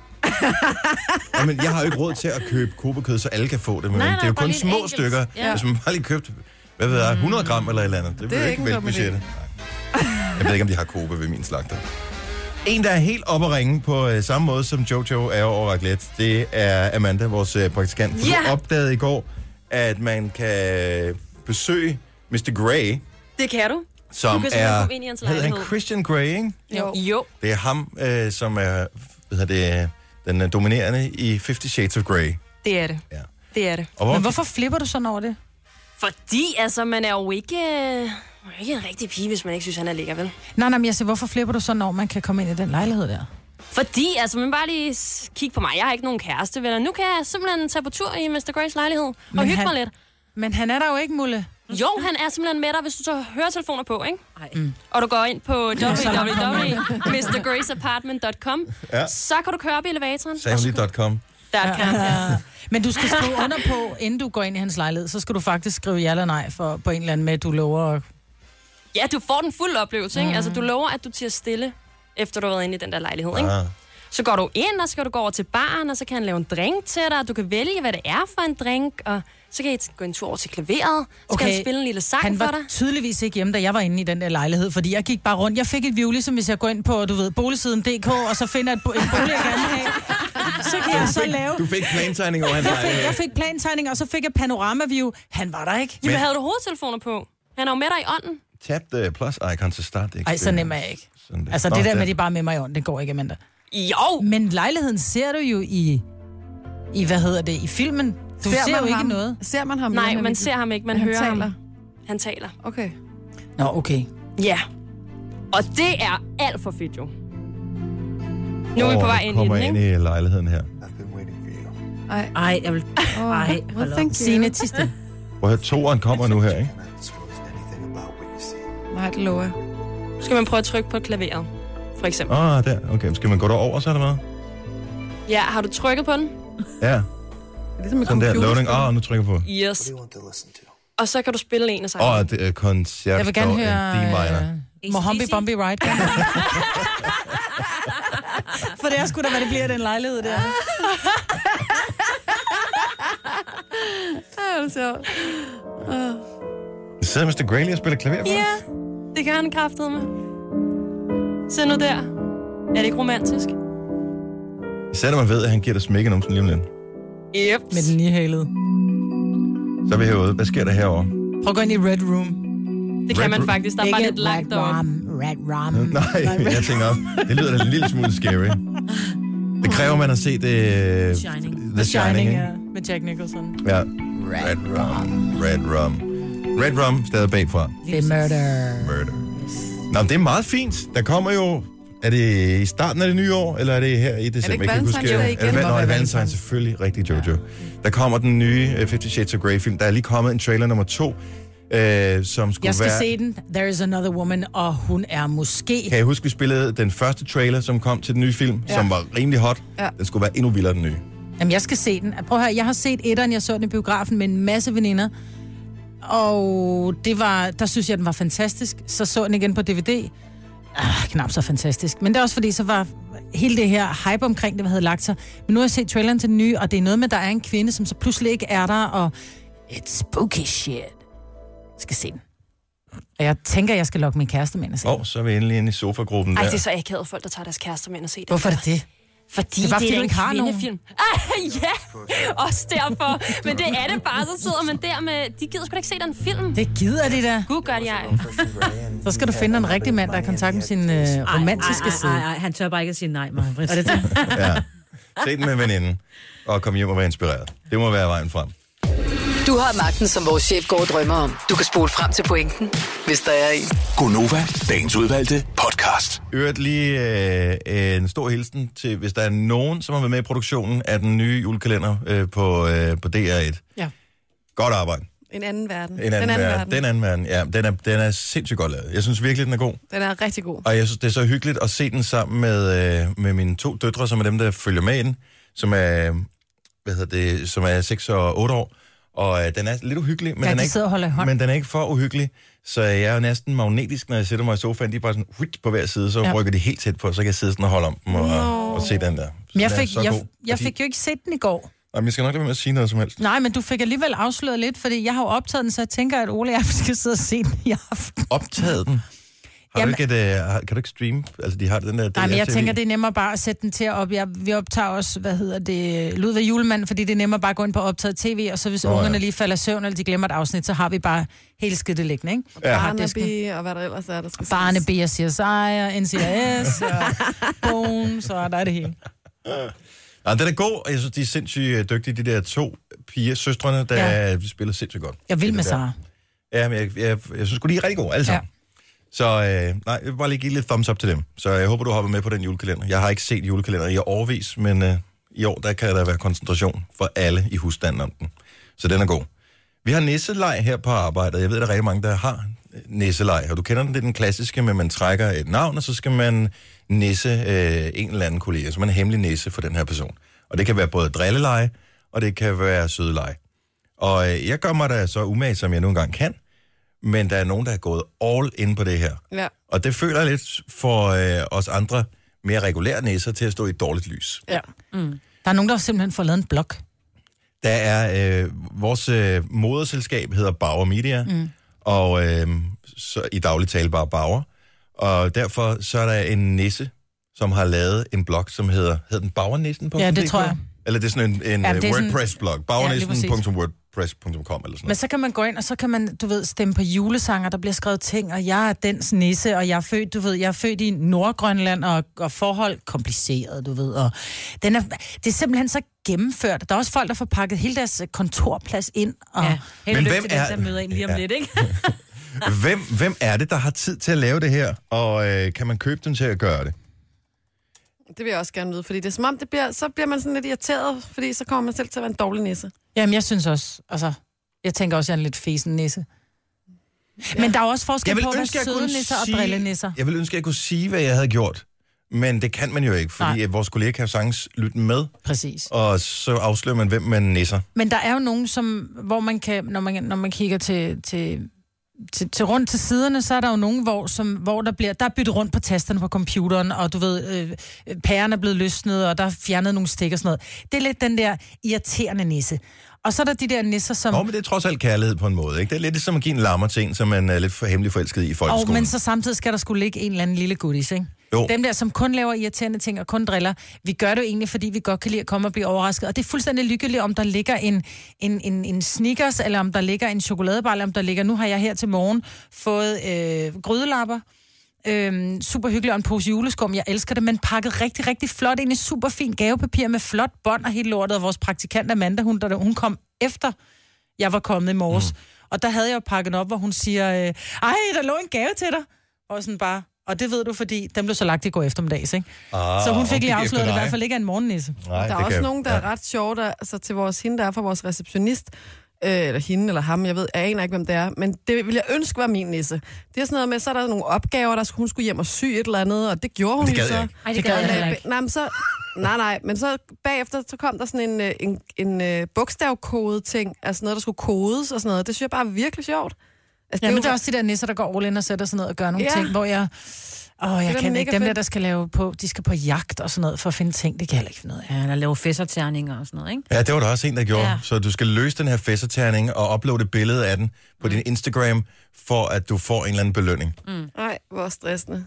A: Jamen, jeg har jo ikke råd til at købe kobekød, så alle kan få det. Men
C: Nej, nej,
A: det er jo
C: bare
A: kun
C: lige et
A: små
C: enkelt.
A: stykker. Ja.
C: Ja.
A: Hvis man bare lige købte, hvad ved jeg, 100 gram eller et eller andet. Det, det
B: er
A: er ikke
B: ikke en
A: vælte
B: dum idé.
A: budgettet. Nej. Jeg ved ikke, om de har kobe ved min slagter. En, der er helt oppe at ringe på øh, samme måde, som Jojo er over raclette, det er Amanda, vores øh, praktikant. For
C: Ja.
A: Du opdagede i går, at man kan besøge Mr. Grey,
G: Det kan du.
A: som
G: kan simpelthen
A: er...
G: komme ind i hans
A: hedder han
G: lejlighed.
A: Christian Grey, ikke?
B: Jo.
G: Jo.
A: Det er ham, øh, som er hvad hedder det, den øh, dominerende i Fifty Shades of Grey.
G: Det er det.
A: Ja.
G: Det er det.
A: Og
D: Men hvorfor flipper du sådan over det?
G: Fordi, altså, man er jo ikke, øh, man er jo ikke en rigtig pige, hvis man ikke synes, han er lækker, vel?
D: Nej, nej, men jeg siger, hvorfor flipper du så, når man kan komme ind i den lejlighed der?
G: Fordi, altså, man bare lige s- kig på mig. Jeg har ikke nogen kæreste, venner. Nu kan jeg simpelthen tage på tur i Mr. Grays lejlighed og
D: Men
G: hygge
D: han-
G: mig lidt.
D: Men han er der jo ikke, Mulle.
G: Jo, han er simpelthen med dig, hvis du tager høretelefoner på, ikke? Mm.
C: Ej.
G: Og du går ind på
D: så langt kom hun
G: www.mrgraceapartment.com,
A: Ja.
G: ja. så kan du køre op i elevatoren.
A: Sagde hun lige .com.
G: Der er et kamp.
D: Men du skal skrive under på, inden du går ind i hans lejlighed, så skal du faktisk skrive ja eller nej for, på en eller anden med, at du lover. at-
G: Ja, du får den fulde oplevelse, ikke? Altså, du lover, at du tiger stille, efter du har været inde i den der lejlighed, ikke?
A: Ah.
G: Så går du ind, og så kan du gå over til baren, og så kan han lave en drink til dig, og du kan vælge, hvad det er for en drink, og så kan I t- gå en tur over til klaveret, så okay. kan han spille en lille sang
D: han
G: for
D: var
G: dig.
D: tydeligvis ikke hjemme, da jeg var inde i den der lejlighed, fordi jeg gik bare rundt. Jeg fik et view, ligesom hvis jeg går ind på, du ved, boligsiden.dk, og så finder et, bo- en bolig, jeg gerne vil have. Så kan jeg så lave...
A: Du fik plantegning over hans lejlighed.
D: Jeg fik plantegning, og så fik jeg panoramaview. Han var der ikke.
G: Jamen, havde du hovedtelefoner på? Han er jo med dig i ånden.
A: Tap the øh, plus icon to start the
D: Ej, så nem er
A: experience.
D: jeg ikke.
A: Sådan der.
D: Altså,
A: Nå,
D: det der med,
A: ja.
D: at de bare er med mig i ånden, det går ikke, Amanda.
G: Jo!
D: Men lejligheden ser du jo i... I, hvad hedder det? I filmen. Du ser, ser
B: man
D: jo
B: ham?
D: ikke noget.
B: Ser man ham?
G: Nej,
B: Eller
G: man
B: ikke?
G: ser ham ikke, man
B: Han
G: hører
B: taler.
G: ham. Han taler.
B: Okay.
D: Nå, okay.
G: Ja. Og det er alt for fedt, jo. Nu er vi
A: Åh,
G: på vej ind i
A: kommer
G: den,
A: ind
G: ikke?
A: i lejligheden her.
B: Ej.
C: Ej, jeg vil...
B: Oh.
C: Ej,
B: well,
C: hold op.
B: thank you.
D: Signe
B: *laughs*
D: Tiste.
A: Hvor her toeren kommer nu her, ikke?
B: Nej, det lover jeg.
G: Nu skal man prøve at trykke på klaveret, for eksempel.
A: Åh, oh, der. Okay, skal man gå derover, så er der hvad?
G: Ja, har du trykket på den?
A: Ja,
B: Det er ligesom et
A: sådan der.
B: computerspil.
A: Loading. Åh, oh, nu trykker jeg på.
G: Yes. Og så kan du spille en af
A: Åh, oh,
G: sangene.
A: det er koncert.
D: Jeg vil gerne
A: og en
D: høre...
A: D-minor.
D: øh, Mohambi
C: AC/DC.
D: Bombi
B: *laughs*
D: Ride. For det er sgu da, hvad det bliver i den lejlighed der.
B: Ja, det er sjovt.
A: Jeg sidder Mr. Gray lige og spiller klaver for
G: Ja,
A: os.
G: det kan han kraftede med. Se nu der. Er det ikke romantisk?
A: Især når man ved, at han giver dig smækken om sådan lige om lidt.
G: Yep.
D: Med den lige hælede.
A: Så er vi herude. Hvad sker der herovre?
D: Prøv at gå ind i Red Room.
G: Det kan man
A: Red-
G: faktisk. Der er bare lidt langt
D: Red
G: over.
D: Rum. Red Rum.
A: Nej, jeg tænker op. Det lyder da en lille smule scary. Det kræver, at man har set uh, The
C: Shining.
A: The Shining, ikke?
D: ja. Med Jack Nicholson.
A: Ja. Red Rum. Red Rum. Red Rum stadig bagfra.
D: The Murder.
A: Murder. Nå, men det er meget fint. Der kommer jo... Er det i starten af det nye år, eller er det her i december? Jeg kan
B: Valentine's
A: huske- øh,
B: Day
A: Er
B: igen?
A: det,
B: Må
A: Nå, er
B: være
A: det Valentine's,
B: Valentine's.
A: selvfølgelig. Rigtig, Jojo. Der kommer den nye øh, Fifty Shades of Grey-film. Der er lige kommet en trailer nummer to, øh, som skulle
D: Jeg skal
A: være...
D: se den. There is another woman, og hun er måske...
A: Kan I huske, vi spillede den første trailer, som kom til den nye film, ja. som var rimelig hot. Ja.
B: Ja.
A: Den skulle være endnu vildere, den nye.
D: Jamen, jeg skal se den. Prøv at høre, jeg har set etteren, jeg så den i biografen med en masse veninder. Og det var, der synes jeg, den var fantastisk. Så så jeg den igen på DVD. ah, knap så fantastisk. Men det er også fordi, så var hele det her hype omkring det, hvad havde lagt sig. Men nu har jeg set traileren til den nye, og det er noget med, at der er en kvinde, som så pludselig ikke er der, og it's spooky shit. Jeg skal se den. Og jeg tænker, jeg skal lokke min kæreste med ind og se
A: Åh, oh, så er vi endelig inde i sofa-gruppen
G: Ej,
A: der.
G: det er så akavet folk, der tager deres kærester med ind og se det.
D: Hvorfor er det det?
G: Fordi
D: Det
G: det
D: er
G: er,
D: bare, fordi
G: det
D: du
G: er en
D: ikke har nogen.
G: kvindefilm. Ah, ja, også derfor. Men det er det bare, så sidder man der med... De gider sgu da ikke se den film.
D: Det gider de da.
G: Gud gør det, jeg.
D: Så skal du finde en rigtig mand, der har kontakt med sin øh, romantiske side.
C: Nej, nej, han tør bare ikke at sige nej, Maja. Og det
A: *laughs* Ja. Se den med veninden, og kom hjem og vær inspireret. Det må være vejen frem.
E: Du har magten, som vores chef går og drømmer om. Du kan spole frem til pointen, hvis der er en.
F: Gonova, dagens udvalgte podcast.
A: Øvrigt lige øh, øh, en stor hilsen til, hvis der er nogen, som har været med i produktionen af den nye julekalender øh, på, øh, på DR1.
D: Ja.
A: Godt arbejde.
B: En anden verden.
A: En anden,
B: den anden verden.
A: Den anden verden. Ja, den er, den er sindssygt godt lavet. Jeg synes virkelig, den er god.
B: Den er rigtig god.
A: Og jeg synes, det er så hyggeligt at se den sammen med, øh, med mine to døtre, som er dem, der følger med i den, som er, hvad hedder det, som er 6 og 8 år. Og øh, den er lidt uhyggelig, men,
D: Ja,
A: den,
D: de
A: er
D: sidder og holder i
A: ikke,
D: hånd.
A: men den er ikke for uhyggelig. Så jeg er jo næsten magnetisk, når jeg sætter mig i sofaen. De er bare sådan huit på hver side, så ja.
D: Ja.
A: rykker de helt tæt på, så kan jeg sidde sådan og holde om dem og, no. og se den der. Så
D: Men jeg
A: den er
D: fik,
A: så
D: jeg,
A: god,
D: jeg
A: fordi-
D: fik jo ikke set den i går.
A: Jamen, jeg skal nok lade være med at sige noget som helst.
D: Nej, men du fik alligevel afsløret lidt, fordi jeg har jo optaget den, så jeg tænker, at Ole og jeg *laughs* skal sidde og se den i aften.
A: Optaget den. Har
D: Jamen-
A: du ikke et, øh, har- kan du ikke streame? Altså, de har den der...
D: Nej, men jeg
A: DRTV.
D: tænker, det er nemmere bare at sætte den til at op. Jeg, vi optager også, hvad hedder det, Ludvig Julemand, fordi det er nemmere bare at gå ind på optaget tv, og så hvis
A: Nå,
D: oh,
A: ja.
D: ungerne lige falder i søvn, eller de glemmer et afsnit, så har vi bare hele skidtet liggende, ikke?
A: Ja.
D: På harddisken.
B: Barnaby og hvad der ellers er, der skal ses.
D: Barnaby og CSI og
A: *laughs*
D: NCIS og Boom, så er der det hele.
A: Ja, den er god, og jeg synes, de er sindssygt øh, dygtige, de der to piger, søstrene, der ja. spiller sindssygt godt.
D: Jeg vil med
A: der.
D: Sara.
A: Ja, men jeg, jeg, jeg synes sgu, de er rigtig gode, alle sammen. Ja. Så
D: Ja.
A: øh, nej, jeg vil bare lige give lidt thumbs up til dem. Så jeg håber, du hopper med på den julekalender. Jeg har ikke set julekalender i årvis, men øh, i år, der kan der være koncentration for alle i husstanden om den. Så den er god. Vi har nisseleg her på arbejdet. Jeg ved, der er rigtig mange, der har øh, nisseleg. Og du kender den, det er den klassiske, men man trækker et navn, og så skal man nisse øh, en eller anden kollega. Så man er hemmelig nisse for den her person. Og det kan være både drilleleje, og det kan være sødeleje. Og øh, jeg gør mig da så umage, som jeg nu engang kan. Men der er nogen, der er gået all in på det her.
B: Ja.
A: Og det føler jeg lidt for øh, os andre mere regulære næser til at stå i et dårligt lys.
B: ja.
D: Der er nogen, der har simpelthen fået lavet en blog.
A: Der er øh, vores øh, moderselskab hedder Bauer Media, mm. og øh, så, i daglig tale bare Bauer. Og derfor så er der en nisse, som har lavet en blog, som hedder, hedder den Bauernissen?
D: Ja, det tror jeg.
A: Eller det er sådan en, en
D: Ja,
A: ja,
D: det er sådan-
A: WordPress-blog.
D: præcis.
A: Bauernissen.wordpress.com eller sådan
D: Men
A: noget.
D: så kan man gå ind, og så kan man, du ved, stemme på julesanger, der bliver skrevet ting, og jeg er dens nisse, og jeg er født, du ved, jeg er født i Nordgrønland, og, og forhold kompliceret, du ved, og den er, det er simpelthen så gennemført. Der er også folk, der får pakket hele deres øh, kontorplads ind, og ja.
C: Ja, held og
A: Men
C: lykke
A: hvem
C: til dem,
A: er-
C: der møder en lige om
A: Ja.
C: lidt, ikke?
A: Hvem, hvem er det, der har tid til at lave det her, og øh, kan man købe dem til at gøre det?
B: Det vil jeg også gerne vide, fordi det er som om, det bliver, så bliver man sådan lidt irriteret, fordi så kommer man selv til at være en dårlig nisse.
D: jamen, jeg synes også, altså, jeg tænker også, jeg er en lidt fesen nisse. Ja. Men der er jo også forskel på, hvad søde nisser og drillenisser.
A: Jeg vil ønske, at jeg kunne sige, hvad jeg havde gjort. Men det kan man jo ikke, fordi
D: Nej.
A: at vores kollega kan jo sagtens lytte med,
D: Præcis.
A: og så afslører man, hvem man nisser.
D: Men der er jo nogen, som, hvor man kan, når man, når man kigger til, til, til, til rundt til siderne, så er der jo nogen, hvor, som, hvor der bliver der er byttet rundt på tasterne på computeren, og du ved, øh, øh, pæren er blevet løsnet, og der er fjernet nogle stik og sådan noget. Det er lidt den der irriterende nisse. Og så er der de der nisser, som...
A: Nå, men det er trods alt kærlighed på en måde, ikke? Det er lidt som at give en lammer til en, som man er lidt for hemmelig forelsket i i
D: Og,
A: folkeskolen.
D: men så samtidig skal der skulle ligge en eller anden lille goodies, ikke?
A: Jo.
D: Dem der, som kun laver irriterende ting og kun driller, vi gør det jo egentlig, fordi vi godt kan lide at komme og blive overrasket. Og det er fuldstændig lykkeligt, om der ligger en, en, en, en Snickers, eller om der ligger en chokoladebar, eller om der ligger, nu har jeg her til morgen fået øh, grydelapper, Øhm, super hyggeligt, og en pose juleskum, jeg elsker det, men pakket rigtig, rigtig flot ind i super fin gavepapir med flot bånd og hele lortet, og vores praktikant Amanda, hun, der, hun kom efter, jeg var kommet i morges. Mm. Og der havde jeg jo pakket op, hvor hun siger, øh, ej, der lå en gave til dig. Og sådan bare, og det ved du, fordi den blev så lagt i går eftermiddags, ikke?
A: Ah,
D: så hun
A: hun
D: fik
A: gik
D: lige
A: efter
D: afsløret, at det i
A: dig.
D: hvert fald ikke er en morgennisse.
A: Nej,
B: Der
A: det
B: er også
A: kan-
B: nogen, der ja. er ret sjove, der, altså til vores, hende der er fra vores receptionist, øh, eller hende eller ham, jeg ved, jeg aner ikke, hvem det er, men det ville jeg ønske var min nisse. Det er sådan noget med, så er der nogle opgaver, der skulle- hun skulle hjem og sy et eller andet, og det gjorde hun
A: Det
B: jo
A: gad
B: så. Øh,
A: jeg ikke.
C: Ej,
D: Det
C: det
D: gad
C: gør
D: jeg
C: jeg
D: heller
C: heller
D: ikke.
C: ikke.
B: Nej, men så, nej, nej, men så bagefter, så kom der sådan en, øh, en, en øh, bogstavkode-ting, altså noget, der skulle kodes og sådan noget. Det synes jeg bare er virkelig sjovt. Altså,
D: Ja, men
B: jo-
D: det er også de der nisser, der går all in og sætter sig ned og gør nogle
B: Ja.
D: ting, hvor jeg... Åh, oh, jeg
B: Det er
D: kan
B: da
D: ikke.
B: mega
D: Dem der,
B: fedt.
D: der skal lave på, de skal på jagt og sådan noget for at finde ting, det kan jeg heller ikke finde ud af.
C: Ja, der laver fæsserterninger og sådan noget, ikke?
A: Ja, det var der også en, der gjorde. Ja.
C: Ja.
A: Så du skal løse den her fæsserterning og uploade et billede af den på din Instagram, for at du får en eller anden belønning.
B: Nej, hvor stressende.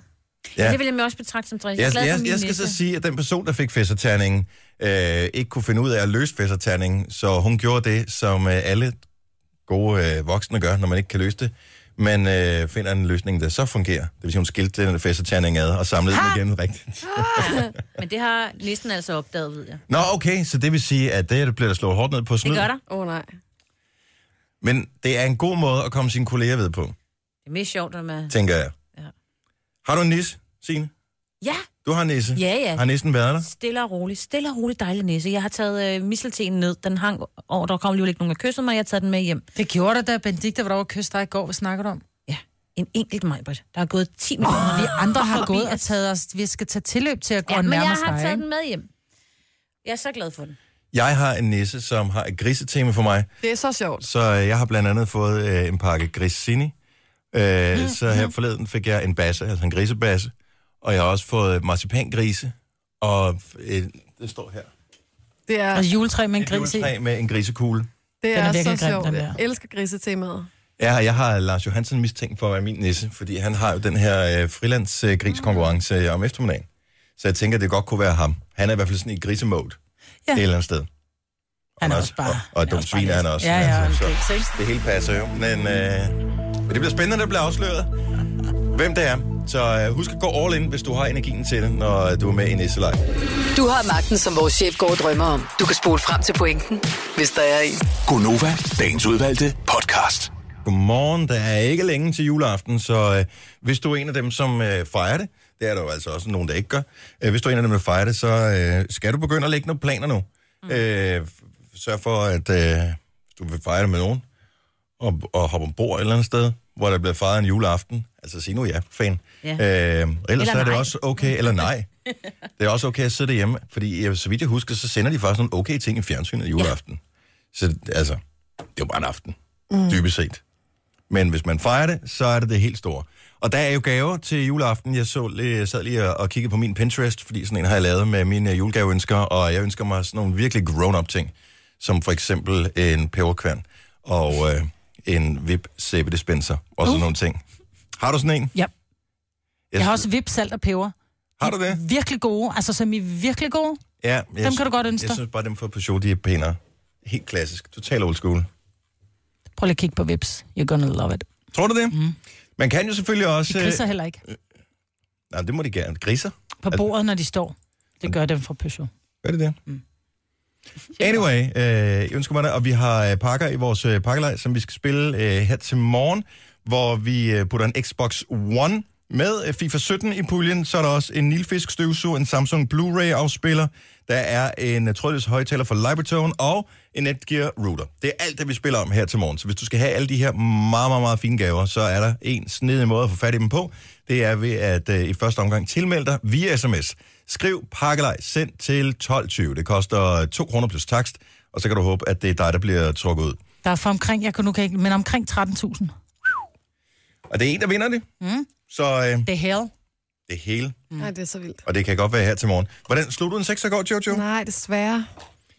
C: Ja.
A: Ja.
C: Det vil jeg også betragte som dræs. Jeg er
A: Jeg,
C: glad for
A: jeg,
C: min
A: jeg skal så
C: nisse.
A: sige, at den person, der fik fæsserterningen, øh, ikke kunne finde ud af at løse fæsserterningen, så hun gjorde det, som øh, alle gode øh, voksne gør, når man ikke kan løse det. Man øh, finder en løsning, der så fungerer. Det vil sige, hun skilte den fæsserterning ad og samlede ha! den igen rigtigt.
C: Men det har næsten altså opdaget, ved jeg.
A: Nå, okay, så det vil sige, at det her det bliver der slået hårdt ned på
C: Det
A: snyd.
C: gør der.
B: Åh oh, nej.
A: Men det er en god måde at komme sine kolleger ved på,
C: Det er mest sjovt, når man...
A: tænker jeg. Ja.
C: Ja.
A: Har du en nisse, Signe?
C: Ja,
A: Du har en nisse.
C: ja, ja.
A: Har nissen været der?
C: Stille og roligt. Stille og roligt dejlig næse. Jeg har taget øh, misseltenen ned. Den hang over. Der kom lige ikke nogen, der kyssede mig. Jeg har taget den med hjem.
D: Det gjorde der, da Benedikte var derovre og kysste dig i går. Hvad snakker du om?
C: Ja. En enkelt mig, Der er gået 10 minutter.
D: Vi andre har
C: forbi
D: gået og
C: os.
D: taget os... Vi skal tage tilløb til at gå
C: Ja, men jeg
D: nærmest
C: har
D: dig,
C: taget
D: ikke?
C: den med hjem. Jeg er så glad for den.
A: Jeg har en nisse, som har et grisetema for mig.
B: Det er så sjovt.
A: Så øh, jeg har blandt andet fået øh, en pakke grissini. Øh, så her forleden fik jeg en basse, altså en grisebasse. Og jeg har også fået marsipangrise. Og øh, det står her.
B: Det er,
D: Og juletræ med en
A: Et
D: gris i.
A: juletræ med en grisekugler.
B: det
D: er
B: er,
D: virkelig
B: så
D: grim,
B: sjovt.
D: den der.
B: Jeg elsker grisetemaet.
A: Ja, jeg har Lars Johansen mistænkt for at være min nisse, fordi han har jo den her øh, frilandsgriskonkurrence øh, om eftermiddagen. Så jeg tænker, at det godt kunne være ham. Han er i hvert fald sådan i grisemode ja.
D: Ja.
A: et eller andet sted.
D: Han er
A: Og-
D: også bare...
A: Og, og dum svin er han også.
D: Ja, ja.
A: Altså,
D: en
A: så-
D: gris, ikke?
A: Det hele passer jo, men, øh, men det bliver spændende, når det bliver afsløret, hvem det er. Så øh, husk at gå all in, hvis du har energien til det, når øh, du er med i næste leg.
E: Du har magten, som vores chef går og drømmer om. Du kan spole frem til pointen, hvis der er en.
F: Gonova, dagens udvalgte podcast.
A: Godmorgen, der er ikke længe til juleaften, så øh, hvis du er en af dem, som øh, fejrer det, det er der jo altså også nogen, der ikke gør, øh, hvis du er en af dem, der fejrer det, så øh, skal du begynde at lægge nogle planer nu. Mm. Øh, f- sørg for, at øh, hvis du vil fejre det med nogen, og, og hoppe ombord et eller andet sted, hvor der bliver fejret en juleaften, altså sig nu ja, fan.
C: Ja.
A: Øh, ellers eller så er det
C: nej.
A: også okay, eller nej. Det er også okay at sidde hjemme, fordi øh, så vidt jeg husker, så sender de faktisk nogle okay ting i fjernsynet juleaften. Så altså, det er jo bare en aften, mm. dybest set. Men hvis man fejrer det, så er det det helt store. Og der er jo gaver til juleaften. Jeg så, lige- sad lige og, og kiggede på min Pinterest, fordi sådan en har jeg lavet med mine øh, julegaveønsker, og jeg ønsker mig sådan nogle virkelig grown-up ting, som for eksempel en peberkværn og øh, en vip sæbedispenser og sådan uh. nogle ting. Har du sådan en?
D: Ja.
A: Jeg,
D: Jeg har også vip, salt og peber.
A: har du det?
D: Virkelig gode. Altså, som i virkelig gode.
A: Ja, jeg
D: Dem kan du godt ønske
A: Jeg
D: dig.
A: synes bare, dem fra Peugeot, de er pænere. Helt klassisk. Total old school.
D: Prøv lige at kigge på vips. You're gonna love it.
A: Tror du det? Mm. Man kan jo selvfølgelig også...
D: De griser heller ikke
A: øh, nej, det må de gerne. Griser?
D: på bordet, når de står. Det gør dem fra Peugeot.
A: Gør det det? *laughs* Mm. Anyway, øh, jeg ønsker mig det, og vi har øh, pakker i vores øh, pakkelej, som vi skal spille øh, her til morgen, hvor vi øh, putter en Xbox One med øh, FIFA 17 i puljen. Så er der også en Nilfisk støvsuger, en Samsung Blu-ray-afspiller, der er en øh, trådløs højtaler for Libertone og en Netgear router. Det er alt det, vi spiller om her til morgen. Så hvis du skal have alle de her meget, meget, meget fine gaver, så er der en snedig måde at få fat i dem på. Det er ved at øh, i første omgang tilmelde dig via sms. Skriv pakkelej send til 12.20. Det koster 2 kroner plus takst, og så kan du håbe, at det er dig, der bliver trukket ud.
D: Der er for omkring, jeg kan nu kan ikke, men omkring 13.000.
A: Og det er en, der vinder det. Mm. Så øh,
D: The hell.
A: det hele.
D: Mm.
B: Nej, det er så vildt.
A: Og det kan godt være her til morgen. Hvordan slog du en 6 går, Jojo?
B: Nej, desværre.